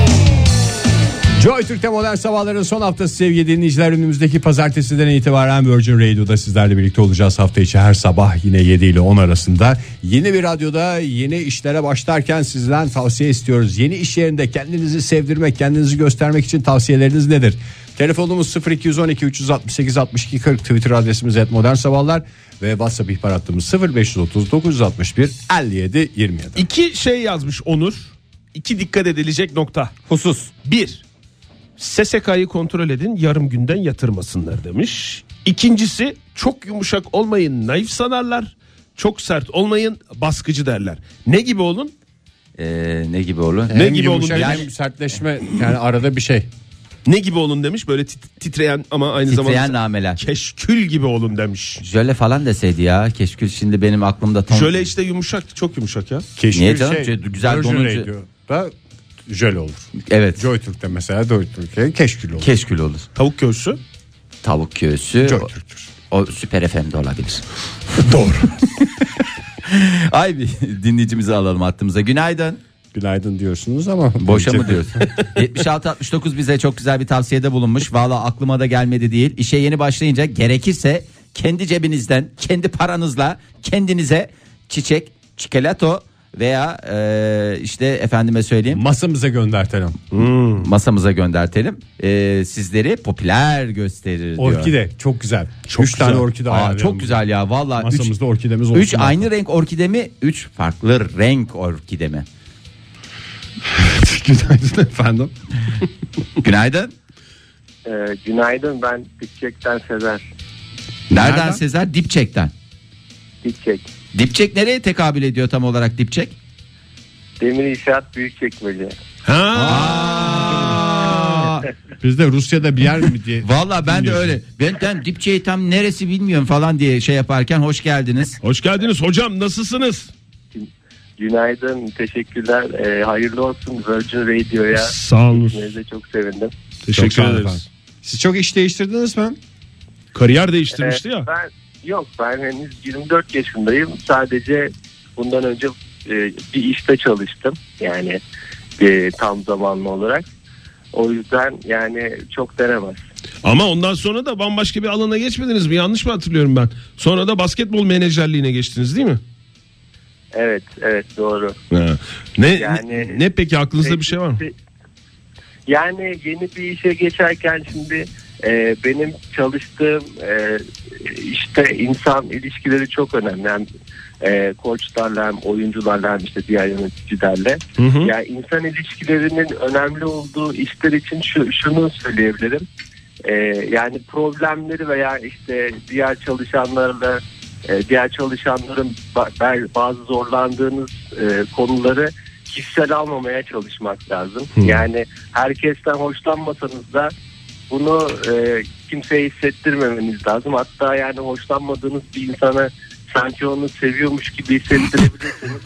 [SPEAKER 3] Joy Türk'te modern sabahların son haftası sevgili dinleyiciler önümüzdeki pazartesiden itibaren Virgin Radio'da sizlerle birlikte olacağız. Hafta içi her sabah yine 7 ile 10 arasında yeni bir radyoda yeni işlere başlarken sizden tavsiye istiyoruz. Yeni iş yerinde kendinizi sevdirmek, kendinizi göstermek için tavsiyeleriniz nedir? Telefonumuz 0212 368 62 40 Twitter adresimiz et modern sabahlar ve WhatsApp ihbar hattımız 0530 961 57 27.
[SPEAKER 5] İki şey yazmış Onur. İki dikkat edilecek nokta. Husus. Bir. SSK'yı kontrol edin yarım günden yatırmasınlar demiş. İkincisi çok yumuşak olmayın naif sanarlar. Çok sert olmayın baskıcı derler. Ne gibi olun?
[SPEAKER 4] Ee, ne gibi olur?
[SPEAKER 5] Ne gibi olun?
[SPEAKER 3] yumuşak
[SPEAKER 5] demiş.
[SPEAKER 3] hem sertleşme yani arada bir şey.
[SPEAKER 5] Ne gibi olun demiş böyle tit- titreyen ama aynı
[SPEAKER 4] Titreyen
[SPEAKER 5] zamanda
[SPEAKER 4] nameler.
[SPEAKER 5] keşkül gibi olun demiş.
[SPEAKER 4] Jöle falan deseydi ya. Keşkül şimdi benim aklımda ton.
[SPEAKER 5] Şöyle işte yumuşak çok yumuşak ya.
[SPEAKER 3] Keşke
[SPEAKER 4] Niye canım?
[SPEAKER 5] şey,
[SPEAKER 4] Ce- güzel
[SPEAKER 3] Virgin
[SPEAKER 4] donunca-
[SPEAKER 3] Radio'da jöl olur.
[SPEAKER 4] Evet.
[SPEAKER 3] Joytürk'te mesela Joytürk'e keşkül olur.
[SPEAKER 4] Keşkül olur.
[SPEAKER 5] Tavuk göğsü.
[SPEAKER 4] Tavuk köğüsü.
[SPEAKER 3] Joytürk'tür.
[SPEAKER 4] O, o Süper FM'de olabilir. Ay bir dinleyicimizi alalım hattımıza. Günaydın.
[SPEAKER 3] Günaydın diyorsunuz ama.
[SPEAKER 4] Boşa mı
[SPEAKER 3] Bence-
[SPEAKER 4] diyorsun? 76-69 bize çok güzel bir tavsiyede bulunmuş. Valla aklıma da gelmedi değil. İşe yeni başlayınca gerekirse kendi cebinizden, kendi paranızla kendinize çiçek, çikolato veya e, işte efendime söyleyeyim
[SPEAKER 3] Masamıza gönder Telam. Hmm.
[SPEAKER 4] masamıza göndertelim. E, sizleri popüler gösterir diyor.
[SPEAKER 3] Orkide çok güzel.
[SPEAKER 5] Çok
[SPEAKER 3] Üç tane
[SPEAKER 5] güzel.
[SPEAKER 3] orkide
[SPEAKER 4] Aa,
[SPEAKER 3] ayarlayalım.
[SPEAKER 4] çok güzel ya valla. Üç,
[SPEAKER 3] Masamızda orkidemiz olsun.
[SPEAKER 4] üç aynı renk orkide mi? Üç farklı renk orkide mi?
[SPEAKER 3] Günaydın efendim.
[SPEAKER 4] Günaydın.
[SPEAKER 8] Ee, günaydın ben Dikçek'ten Sezer.
[SPEAKER 4] Nereden,
[SPEAKER 3] Nereden?
[SPEAKER 4] Sezer? Dipçek'ten.
[SPEAKER 8] Dikçek.
[SPEAKER 4] Dipçek nereye tekabül ediyor tam olarak dipçek?
[SPEAKER 8] Demir İnşaat Büyükçekmece.
[SPEAKER 3] Biz de Rusya'da bir yer mi diye.
[SPEAKER 4] Valla ben de
[SPEAKER 3] Bilmiyorum.
[SPEAKER 4] öyle. Ben, ben dipçeyi tam neresi bilmiyorum falan diye şey yaparken hoş geldiniz.
[SPEAKER 5] Hoş geldiniz hocam nasılsınız?
[SPEAKER 8] Günaydın teşekkürler. Ee, hayırlı olsun Virgin Radio'ya.
[SPEAKER 5] Sağ olun.
[SPEAKER 8] Size çok sevindim.
[SPEAKER 3] Çok sağ
[SPEAKER 5] Teşekkür
[SPEAKER 3] olun
[SPEAKER 5] ederiz.
[SPEAKER 3] efendim. Siz çok iş değiştirdiniz mi?
[SPEAKER 5] Kariyer değiştirmişti
[SPEAKER 8] Ee,
[SPEAKER 5] ya.
[SPEAKER 8] Ben, yok ben henüz 24 yaşındayım. Sadece bundan önce e, bir işte çalıştım. Yani e, tam zamanlı olarak. O yüzden yani çok denemez.
[SPEAKER 5] Ama ondan sonra da bambaşka bir alana geçmediniz mi? Yanlış mı hatırlıyorum ben? Sonra da basketbol menajerliğine geçtiniz değil mi?
[SPEAKER 8] Evet evet doğru.
[SPEAKER 5] Ha. Ne,
[SPEAKER 8] Yani-
[SPEAKER 5] ne, ne peki aklınızda bir şey var mı?
[SPEAKER 8] Yani yeni bir işe geçerken şimdi e, benim çalıştığım e, işte insan ilişkileri çok önemli. Hem e, koçlarla hem oyuncularla hem işte diğer yöneticilerle.
[SPEAKER 5] Hı hı.
[SPEAKER 8] Yani insan ilişkilerinin önemli olduğu işler için şu, şunu söyleyebilirim. E, yani problemleri veya işte diğer çalışanlarla e, diğer çalışanların ba- ba- bazı zorlandığınız e, konuları kişisel almamaya çalışmak lazım. Yani herkesten hoşlanmasanız da bunu e, kimseye hissettirmemeniz lazım. Hatta yani hoşlanmadığınız bir insana sanki onu seviyormuş gibi hissettirebilirsiniz.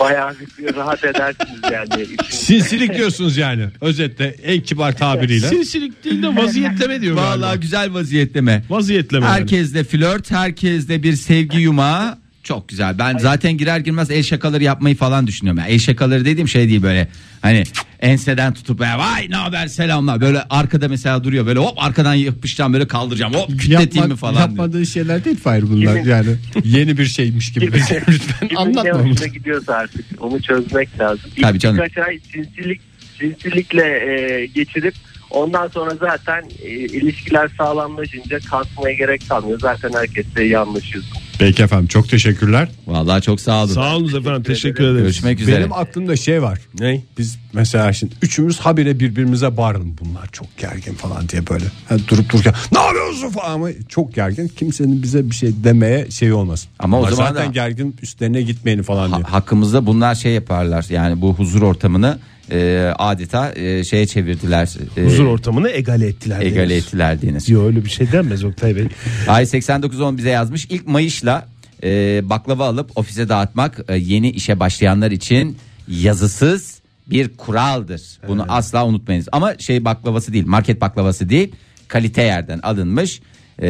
[SPEAKER 8] Bayağı bir rahat edersiniz yani.
[SPEAKER 3] Sinsilik diyorsunuz yani. Özetle en kibar tabiriyle.
[SPEAKER 5] Sinsilik değil de vaziyetleme diyor
[SPEAKER 4] Valla
[SPEAKER 5] Vallahi
[SPEAKER 4] güzel vaziyetleme.
[SPEAKER 5] Vaziyetleme. yani.
[SPEAKER 4] Herkesle flört, herkesle bir sevgi yumağı. Çok güzel. Ben zaten girer girmez el şakaları yapmayı falan düşünüyorum. Yani el şakaları dediğim şey değil böyle. Hani enseden tutup "E, vay ne haber selamlar. Böyle arkada mesela duruyor böyle hop arkadan yapışacağım böyle kaldıracağım hop kütleteyim mi falan. diyor.
[SPEAKER 3] Yapmadığı şeyler değil Fahir bunlar
[SPEAKER 8] Yemin-
[SPEAKER 3] yani. Yeni bir şeymiş gibi. Lütfen
[SPEAKER 8] Kimin ne
[SPEAKER 3] anlatma bunu.
[SPEAKER 8] hoşuna gidiyorsa artık onu çözmek lazım. İlk
[SPEAKER 4] Tabii canım.
[SPEAKER 8] Birkaç ay sinsilik, sinsilikle e, geçirip ondan sonra zaten e, ilişkiler sağlamlaşınca kalkmaya gerek kalmıyor. Zaten herkesle iyi anlaşıyorsun.
[SPEAKER 3] Peki efendim çok teşekkürler.
[SPEAKER 4] Vallahi çok sağ olun.
[SPEAKER 5] Sağ olun efendim teşekkür ederiz.
[SPEAKER 4] Görüşmek üzere.
[SPEAKER 3] Benim aklımda şey var.
[SPEAKER 5] Ne?
[SPEAKER 3] Biz mesela şimdi üçümüz habire birbirimize bağıralım. Bunlar çok gergin falan diye böyle. Ha, durup dururken ne yapıyorsun falan ama çok gergin. Kimsenin bize bir şey demeye şey olmasın.
[SPEAKER 4] Ama o
[SPEAKER 3] Bunlar
[SPEAKER 4] zaman
[SPEAKER 3] zaten
[SPEAKER 4] da-
[SPEAKER 3] gergin üstlerine gitmeyin falan diye.
[SPEAKER 4] Ha- hakkımızda bunlar şey yaparlar yani bu huzur ortamını e, adeta e, şeye çevirdiler. E,
[SPEAKER 5] Huzur ortamını egale ettiler.
[SPEAKER 4] egale
[SPEAKER 5] deriz.
[SPEAKER 4] ettiler deniz.
[SPEAKER 5] Yok öyle bir şey denmez Oktay Bey.
[SPEAKER 4] Ay 8910 bize yazmış ilk mayışla e, baklava alıp ofise dağıtmak e, yeni işe başlayanlar için yazısız bir kuraldır. Bunu asla unutmayınız ama şey baklavası değil market baklavası değil kalite yerden alınmış e,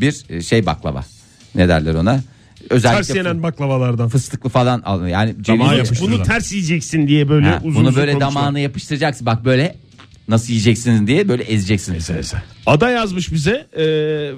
[SPEAKER 4] bir şey baklava ne derler ona.
[SPEAKER 5] Ters
[SPEAKER 4] Özellikle
[SPEAKER 5] yenen baklavalardan.
[SPEAKER 4] fıstıklı falan al yani ceviz
[SPEAKER 5] Bunu ters yiyeceksin diye böyle
[SPEAKER 4] Ha,
[SPEAKER 5] uzun
[SPEAKER 4] bunu
[SPEAKER 5] uzun
[SPEAKER 4] böyle
[SPEAKER 5] konuşma.
[SPEAKER 4] damağına yapıştıracaksın bak böyle nasıl yiyeceksin diye böyle ezeceksin.
[SPEAKER 5] Ada yazmış bize e,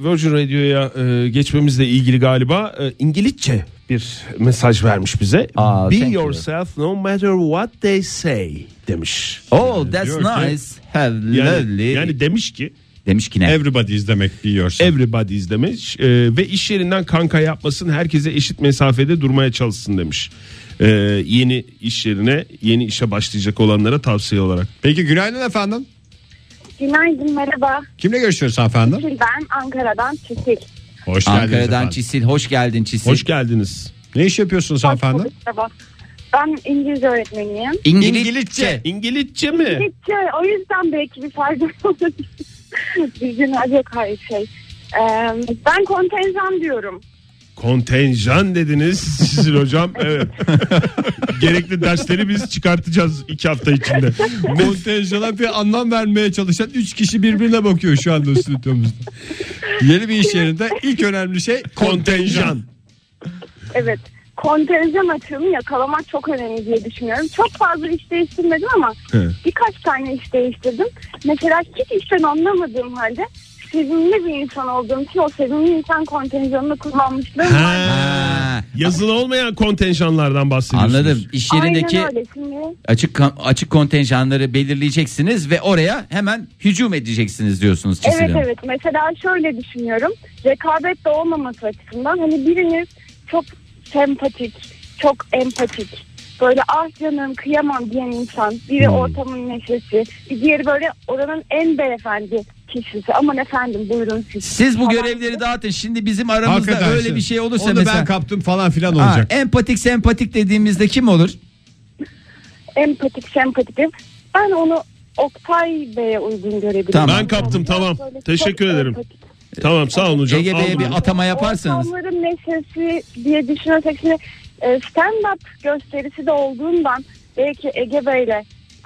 [SPEAKER 5] Virgin Radio'ya e, geçmemizle ilgili galiba e, İngilizce bir mesaj vermiş bize.
[SPEAKER 4] Aa,
[SPEAKER 5] Be
[SPEAKER 4] thank you.
[SPEAKER 5] yourself no matter what they say demiş.
[SPEAKER 4] Oh that's
[SPEAKER 5] diyor ki-
[SPEAKER 4] nice. Have
[SPEAKER 5] Yani,
[SPEAKER 4] lovely.
[SPEAKER 5] yani demiş ki
[SPEAKER 4] demiş ki ne?
[SPEAKER 3] Everybody izlemek biliyorsun.
[SPEAKER 5] everybody is demiş e, ve iş yerinden kanka yapmasın herkese eşit mesafede durmaya çalışsın demiş. E, yeni iş yerine yeni işe başlayacak olanlara tavsiye olarak.
[SPEAKER 3] Peki günaydın efendim.
[SPEAKER 10] Günaydın merhaba.
[SPEAKER 3] Kimle görüşüyoruz efendim?
[SPEAKER 10] Şimdi Ben Ankara'dan Çiçek.
[SPEAKER 3] Hoş geldiniz
[SPEAKER 4] Ankara'dan
[SPEAKER 3] efendim.
[SPEAKER 4] Çisil hoş geldin Çisil.
[SPEAKER 5] Hoş geldiniz.
[SPEAKER 3] Ne iş yapıyorsunuz efendim?
[SPEAKER 10] Merhaba. Ben İngilizce öğretmeniyim.
[SPEAKER 4] İngilizce.
[SPEAKER 5] İngilizce mi?
[SPEAKER 10] Hiç, e, o yüzden belki bir fayda olabilir. Bizim yok hayır şey. Ee, ben kontenjan diyorum.
[SPEAKER 5] Kontenjan dediniz sizin hocam. Evet. Gerekli dersleri biz çıkartacağız iki hafta içinde.
[SPEAKER 3] Kontenjana bir anlam vermeye çalışan 3 kişi birbirine bakıyor şu anda stüdyomuzda. Yeni bir iş yerinde ilk önemli şey kontenjan.
[SPEAKER 5] Kontenjan.
[SPEAKER 10] Evet. kontenjan açığını yakalamak çok önemli diye düşünüyorum. Çok fazla iş değiştirmedim ama
[SPEAKER 5] Evet.
[SPEAKER 10] birkaç tane iş değiştirdim. Mesela hiç işten anlamadığım halde sevimli bir insan olduğum için o sevimli insan kontenjanını kullanmışlığım var.
[SPEAKER 5] Ha, Yazılı olmayan kontenjanlardan bahsediyorsunuz.
[SPEAKER 4] Anladım. İş yerindeki
[SPEAKER 10] Aynen öyle. Şimdi
[SPEAKER 4] açık kan- açık kontenjanları belirleyeceksiniz ve oraya hemen hücum edeceksiniz diyorsunuz Çisil
[SPEAKER 10] Evet
[SPEAKER 4] Hanım.
[SPEAKER 10] evet mesela şöyle düşünüyorum rekabet de olmaması açısından hani birini çok sempatik çok empatik böyle ah canım kıyamam diyen insan biri
[SPEAKER 4] Hmm.
[SPEAKER 10] ortamın neşesi bir diğeri böyle oranın en beyefendi kişisi aman efendim buyurun siz.
[SPEAKER 4] Siz bu
[SPEAKER 10] Falan
[SPEAKER 4] görevleri
[SPEAKER 10] gibi.
[SPEAKER 4] dağıtın. Şimdi bizim aramızda
[SPEAKER 3] Hakikaten
[SPEAKER 4] öyle
[SPEAKER 3] işte.
[SPEAKER 4] bir şey olursa
[SPEAKER 3] Onu
[SPEAKER 4] mesela
[SPEAKER 3] ben kaptım falan filan
[SPEAKER 4] Ha,
[SPEAKER 3] olacak.
[SPEAKER 4] empatik sempatik dediğimizde kim olur?
[SPEAKER 10] empatik sempatik ben onu Oktay Bey'e uygun görebilirim.
[SPEAKER 4] Tamam.
[SPEAKER 5] Ben kaptım, tamam.
[SPEAKER 10] Böyle çok
[SPEAKER 5] Teşekkür ederim.
[SPEAKER 10] empatik.
[SPEAKER 5] Tamam sağ olun hocam.
[SPEAKER 4] Ege Bey'e
[SPEAKER 5] Aldım.
[SPEAKER 4] bir atama yaparsanız.
[SPEAKER 10] Ortamların neşesi diye düşünürsek şimdi e, stand-up gösterisi de olduğundan belki Ege Bey'le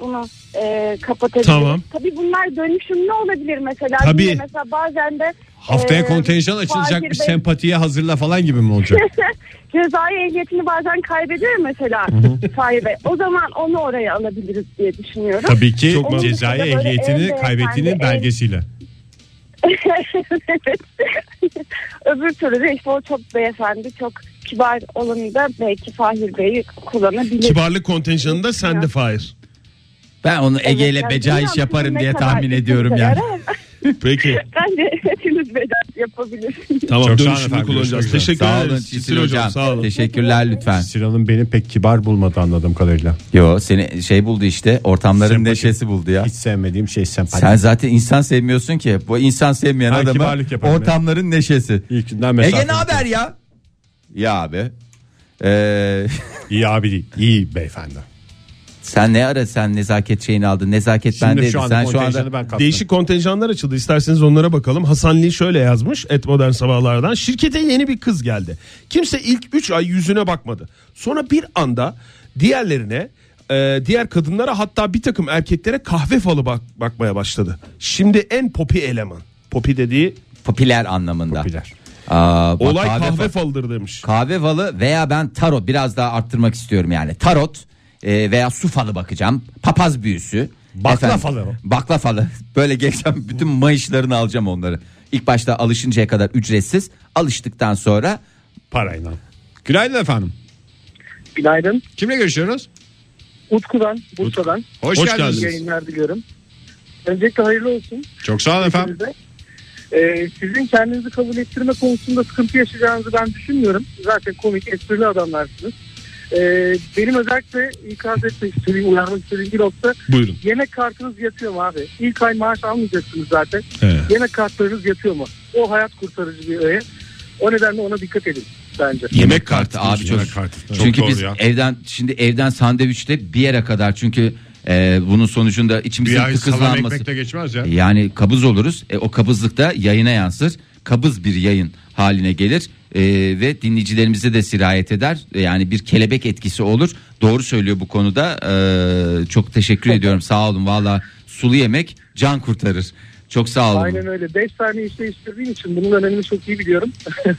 [SPEAKER 10] bunu e, kapatabiliriz.
[SPEAKER 5] Tamam.
[SPEAKER 10] Tabii bunlar dönüşümlü olabilir mesela.
[SPEAKER 3] Tabii.
[SPEAKER 10] Yine Mesela bazen de
[SPEAKER 3] Haftaya
[SPEAKER 10] e,
[SPEAKER 3] kontenjan açılacak
[SPEAKER 10] Fahir
[SPEAKER 3] bir
[SPEAKER 10] Bey
[SPEAKER 3] sempatiye hazırla falan gibi mi olacak?
[SPEAKER 10] Cezai ehliyetini bazen kaybediyor mesela Fahir Bey. O zaman onu oraya alabiliriz diye düşünüyorum.
[SPEAKER 3] Tabii ki
[SPEAKER 5] Çok mantıklı.
[SPEAKER 3] cezai
[SPEAKER 10] Böyle
[SPEAKER 3] ehliyetini
[SPEAKER 10] en
[SPEAKER 3] kaybettiğinin
[SPEAKER 10] beyefendi, en-
[SPEAKER 3] belgesiyle.
[SPEAKER 10] Evet. Öbür türlü de işte o çok beyefendi, çok kibar olanı da belki Fahir Bey'i kullanabilir.
[SPEAKER 5] Kibarlık kontenjanında sen de Fahir.
[SPEAKER 4] Ben onu Ege ile
[SPEAKER 10] Evet, yani bilmiyorum
[SPEAKER 4] becaiş
[SPEAKER 10] sizin
[SPEAKER 4] yaparım
[SPEAKER 10] ne
[SPEAKER 4] diye
[SPEAKER 10] kadar şey.
[SPEAKER 4] tahmin ediyorum
[SPEAKER 10] işinize
[SPEAKER 4] yani.
[SPEAKER 10] yarar.
[SPEAKER 5] Peki
[SPEAKER 10] Bence hepiniz bedel yapabilirsiniz.
[SPEAKER 5] tamam
[SPEAKER 3] Çok sağ olun
[SPEAKER 5] dönüşümü
[SPEAKER 3] efendim,
[SPEAKER 5] kullanacağız.
[SPEAKER 3] görüşmek üzere.
[SPEAKER 5] Teşekkür
[SPEAKER 4] Sağ olun
[SPEAKER 5] ederiz.
[SPEAKER 4] Çisil hocam.
[SPEAKER 5] Sağ olun.
[SPEAKER 4] Teşekkürler lütfen.
[SPEAKER 3] Sinan'ın beni pek kibar bulmadı anladığım kadarıyla.
[SPEAKER 4] Yo seni şey buldu işte ortamların
[SPEAKER 3] Sempatik.
[SPEAKER 4] neşesi buldu ya.
[SPEAKER 3] Hiç sevmediğim şey sempati.
[SPEAKER 4] Sen zaten insan sevmiyorsun ki. Bu insan sevmeyen
[SPEAKER 3] Ha,
[SPEAKER 4] adama
[SPEAKER 3] kibarlık yaparım
[SPEAKER 4] ortamların neşesi.
[SPEAKER 3] İlkinden
[SPEAKER 4] Ege
[SPEAKER 3] mesafe.
[SPEAKER 4] ne haber ya? Ya abi. Ee,
[SPEAKER 3] İyi abi değil. İyi beyefendi.
[SPEAKER 4] sen ne ara sen nezaket şeyini aldın? Nezaket
[SPEAKER 3] Şimdi
[SPEAKER 4] bendeydi.
[SPEAKER 3] şu anda
[SPEAKER 4] Sen şu
[SPEAKER 3] kontenjanı
[SPEAKER 4] anda
[SPEAKER 3] ben kaptım.
[SPEAKER 5] Değişik kontenjanlar açıldı. İsterseniz onlara bakalım. Hasan Lee şöyle yazmış et modern sabahlardan. Şirkete yeni bir kız geldi. Kimse ilk 3 ay yüzüne bakmadı. Sonra bir anda diğerlerine e, diğer kadınlara hatta bir takım erkeklere kahve falı bak- bakmaya başladı. Şimdi en popi eleman. Popi dediği
[SPEAKER 4] popüler anlamında.
[SPEAKER 3] Popüler.
[SPEAKER 4] Aa, bak
[SPEAKER 5] olay kahve,
[SPEAKER 4] fa-
[SPEAKER 5] falıdır demiş.
[SPEAKER 4] kahve falı veya ben tarot biraz daha arttırmak istiyorum yani. Tarot e, veya su falı bakacağım. Papaz büyüsü.
[SPEAKER 3] Bakla falı mı?
[SPEAKER 4] Bakla falı. Böyle geçeceğim bütün mayışlarını alacağım onları. İlk başta alışıncaya kadar ücretsiz. Alıştıktan sonra
[SPEAKER 3] Parayla. Günaydın efendim.
[SPEAKER 7] Günaydın.
[SPEAKER 3] Kimle görüşüyoruz?
[SPEAKER 7] Utku'dan, Bursa'dan.
[SPEAKER 3] Hoş,
[SPEAKER 5] Hoş
[SPEAKER 3] geldiniz.
[SPEAKER 5] geldiniz.
[SPEAKER 7] İyi yayınlar diliyorum. Öncelikle hayırlı olsun.
[SPEAKER 3] Çok sağ olun efendim.
[SPEAKER 7] Hepinize. Ee, sizin kendinizi kabul ettirme konusunda sıkıntı yaşayacağınızı ben düşünmüyorum. Zaten komik, esprili adamlarsınız. Ee, benim özellikle ikaz etmek istediğim, uyarmak istediğim bir nokta
[SPEAKER 5] Buyurun.
[SPEAKER 7] yemek kartınız yatıyor mu abi? İlk ay maaş almayacaksınız zaten.
[SPEAKER 5] He.
[SPEAKER 7] Yemek kartlarınız yatıyor mu? O hayat kurtarıcı bir öğe. O nedenle ona dikkat edin bence.
[SPEAKER 4] Yemek kartı abi çok.
[SPEAKER 3] Yemek kartı. Çok
[SPEAKER 4] Çünkü
[SPEAKER 3] doğru
[SPEAKER 4] biz
[SPEAKER 3] ya.
[SPEAKER 4] evden şimdi evden sandviçle bir yere kadar çünkü e, bunun sonucunda içimizin
[SPEAKER 3] Bir ay salam
[SPEAKER 4] kıkızlanması.
[SPEAKER 3] ekmek de geçmez ya.
[SPEAKER 4] Yani kabız oluruz. E, o kabızlık da yayına yansır. Kabız bir yayın haline gelir E, ve dinleyicilerimize de sirayet eder. E, Yani bir kelebek etkisi olur. Doğru söylüyor bu konuda. E, çok teşekkür ediyorum. Sağ olun. Valla sulu yemek can kurtarır. Çok sağ olun.
[SPEAKER 7] Aynen öyle. 5 tane işte istediğim için bunun önemini çok iyi biliyorum.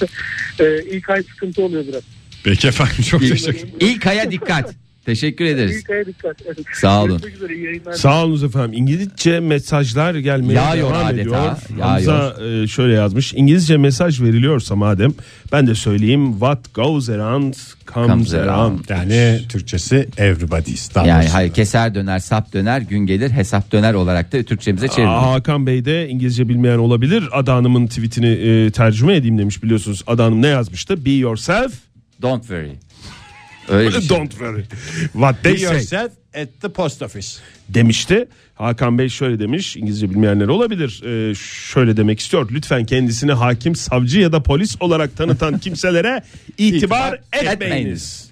[SPEAKER 7] ee, ilk ay sıkıntı oluyor biraz.
[SPEAKER 3] Peki efendim çok teşekkür ederim.
[SPEAKER 4] İlk aya dikkat. Teşekkür ederiz.
[SPEAKER 7] İlk aya dikkat edin.
[SPEAKER 4] Sağ olun.
[SPEAKER 7] Görüşmek üzere, iyi yayınlar.
[SPEAKER 5] Sağ olunuz efendim. İngilizce mesajlar gelmeye
[SPEAKER 4] Yağıyor
[SPEAKER 5] devam
[SPEAKER 4] adeta,
[SPEAKER 5] ediyor.
[SPEAKER 4] yağıyor.
[SPEAKER 5] Hamza e, şöyle yazmış. İngilizce mesaj veriliyorsa madem ben de söyleyeyim. What goes around comes,
[SPEAKER 4] Comes around.
[SPEAKER 5] around.
[SPEAKER 3] Yani Türkçesi everybody's. Daha
[SPEAKER 4] Yani
[SPEAKER 3] doğrusu.
[SPEAKER 4] hayır keser döner sap döner gün gelir hesap döner olarak da Türkçemize
[SPEAKER 5] Aa,
[SPEAKER 4] çevirin.
[SPEAKER 5] Hakan Bey de İngilizce bilmeyen olabilir. Ada Hanım'ın tweetini e, tercüme edeyim demiş biliyorsunuz. Ada Hanım ne yazmıştı? Be yourself,
[SPEAKER 4] Don't worry. Öyle bir şey.
[SPEAKER 5] don't worry. What
[SPEAKER 3] Be
[SPEAKER 5] they say.
[SPEAKER 3] yourself at the post office.
[SPEAKER 5] demişti. Hakan Bey şöyle demiş İngilizce bilmeyenler olabilir Ee, şöyle demek istiyor lütfen kendisini hakim savcı ya da polis olarak tanıtan kimselere itibar
[SPEAKER 4] İtibar
[SPEAKER 5] etmeyiniz.
[SPEAKER 4] etmeyiniz.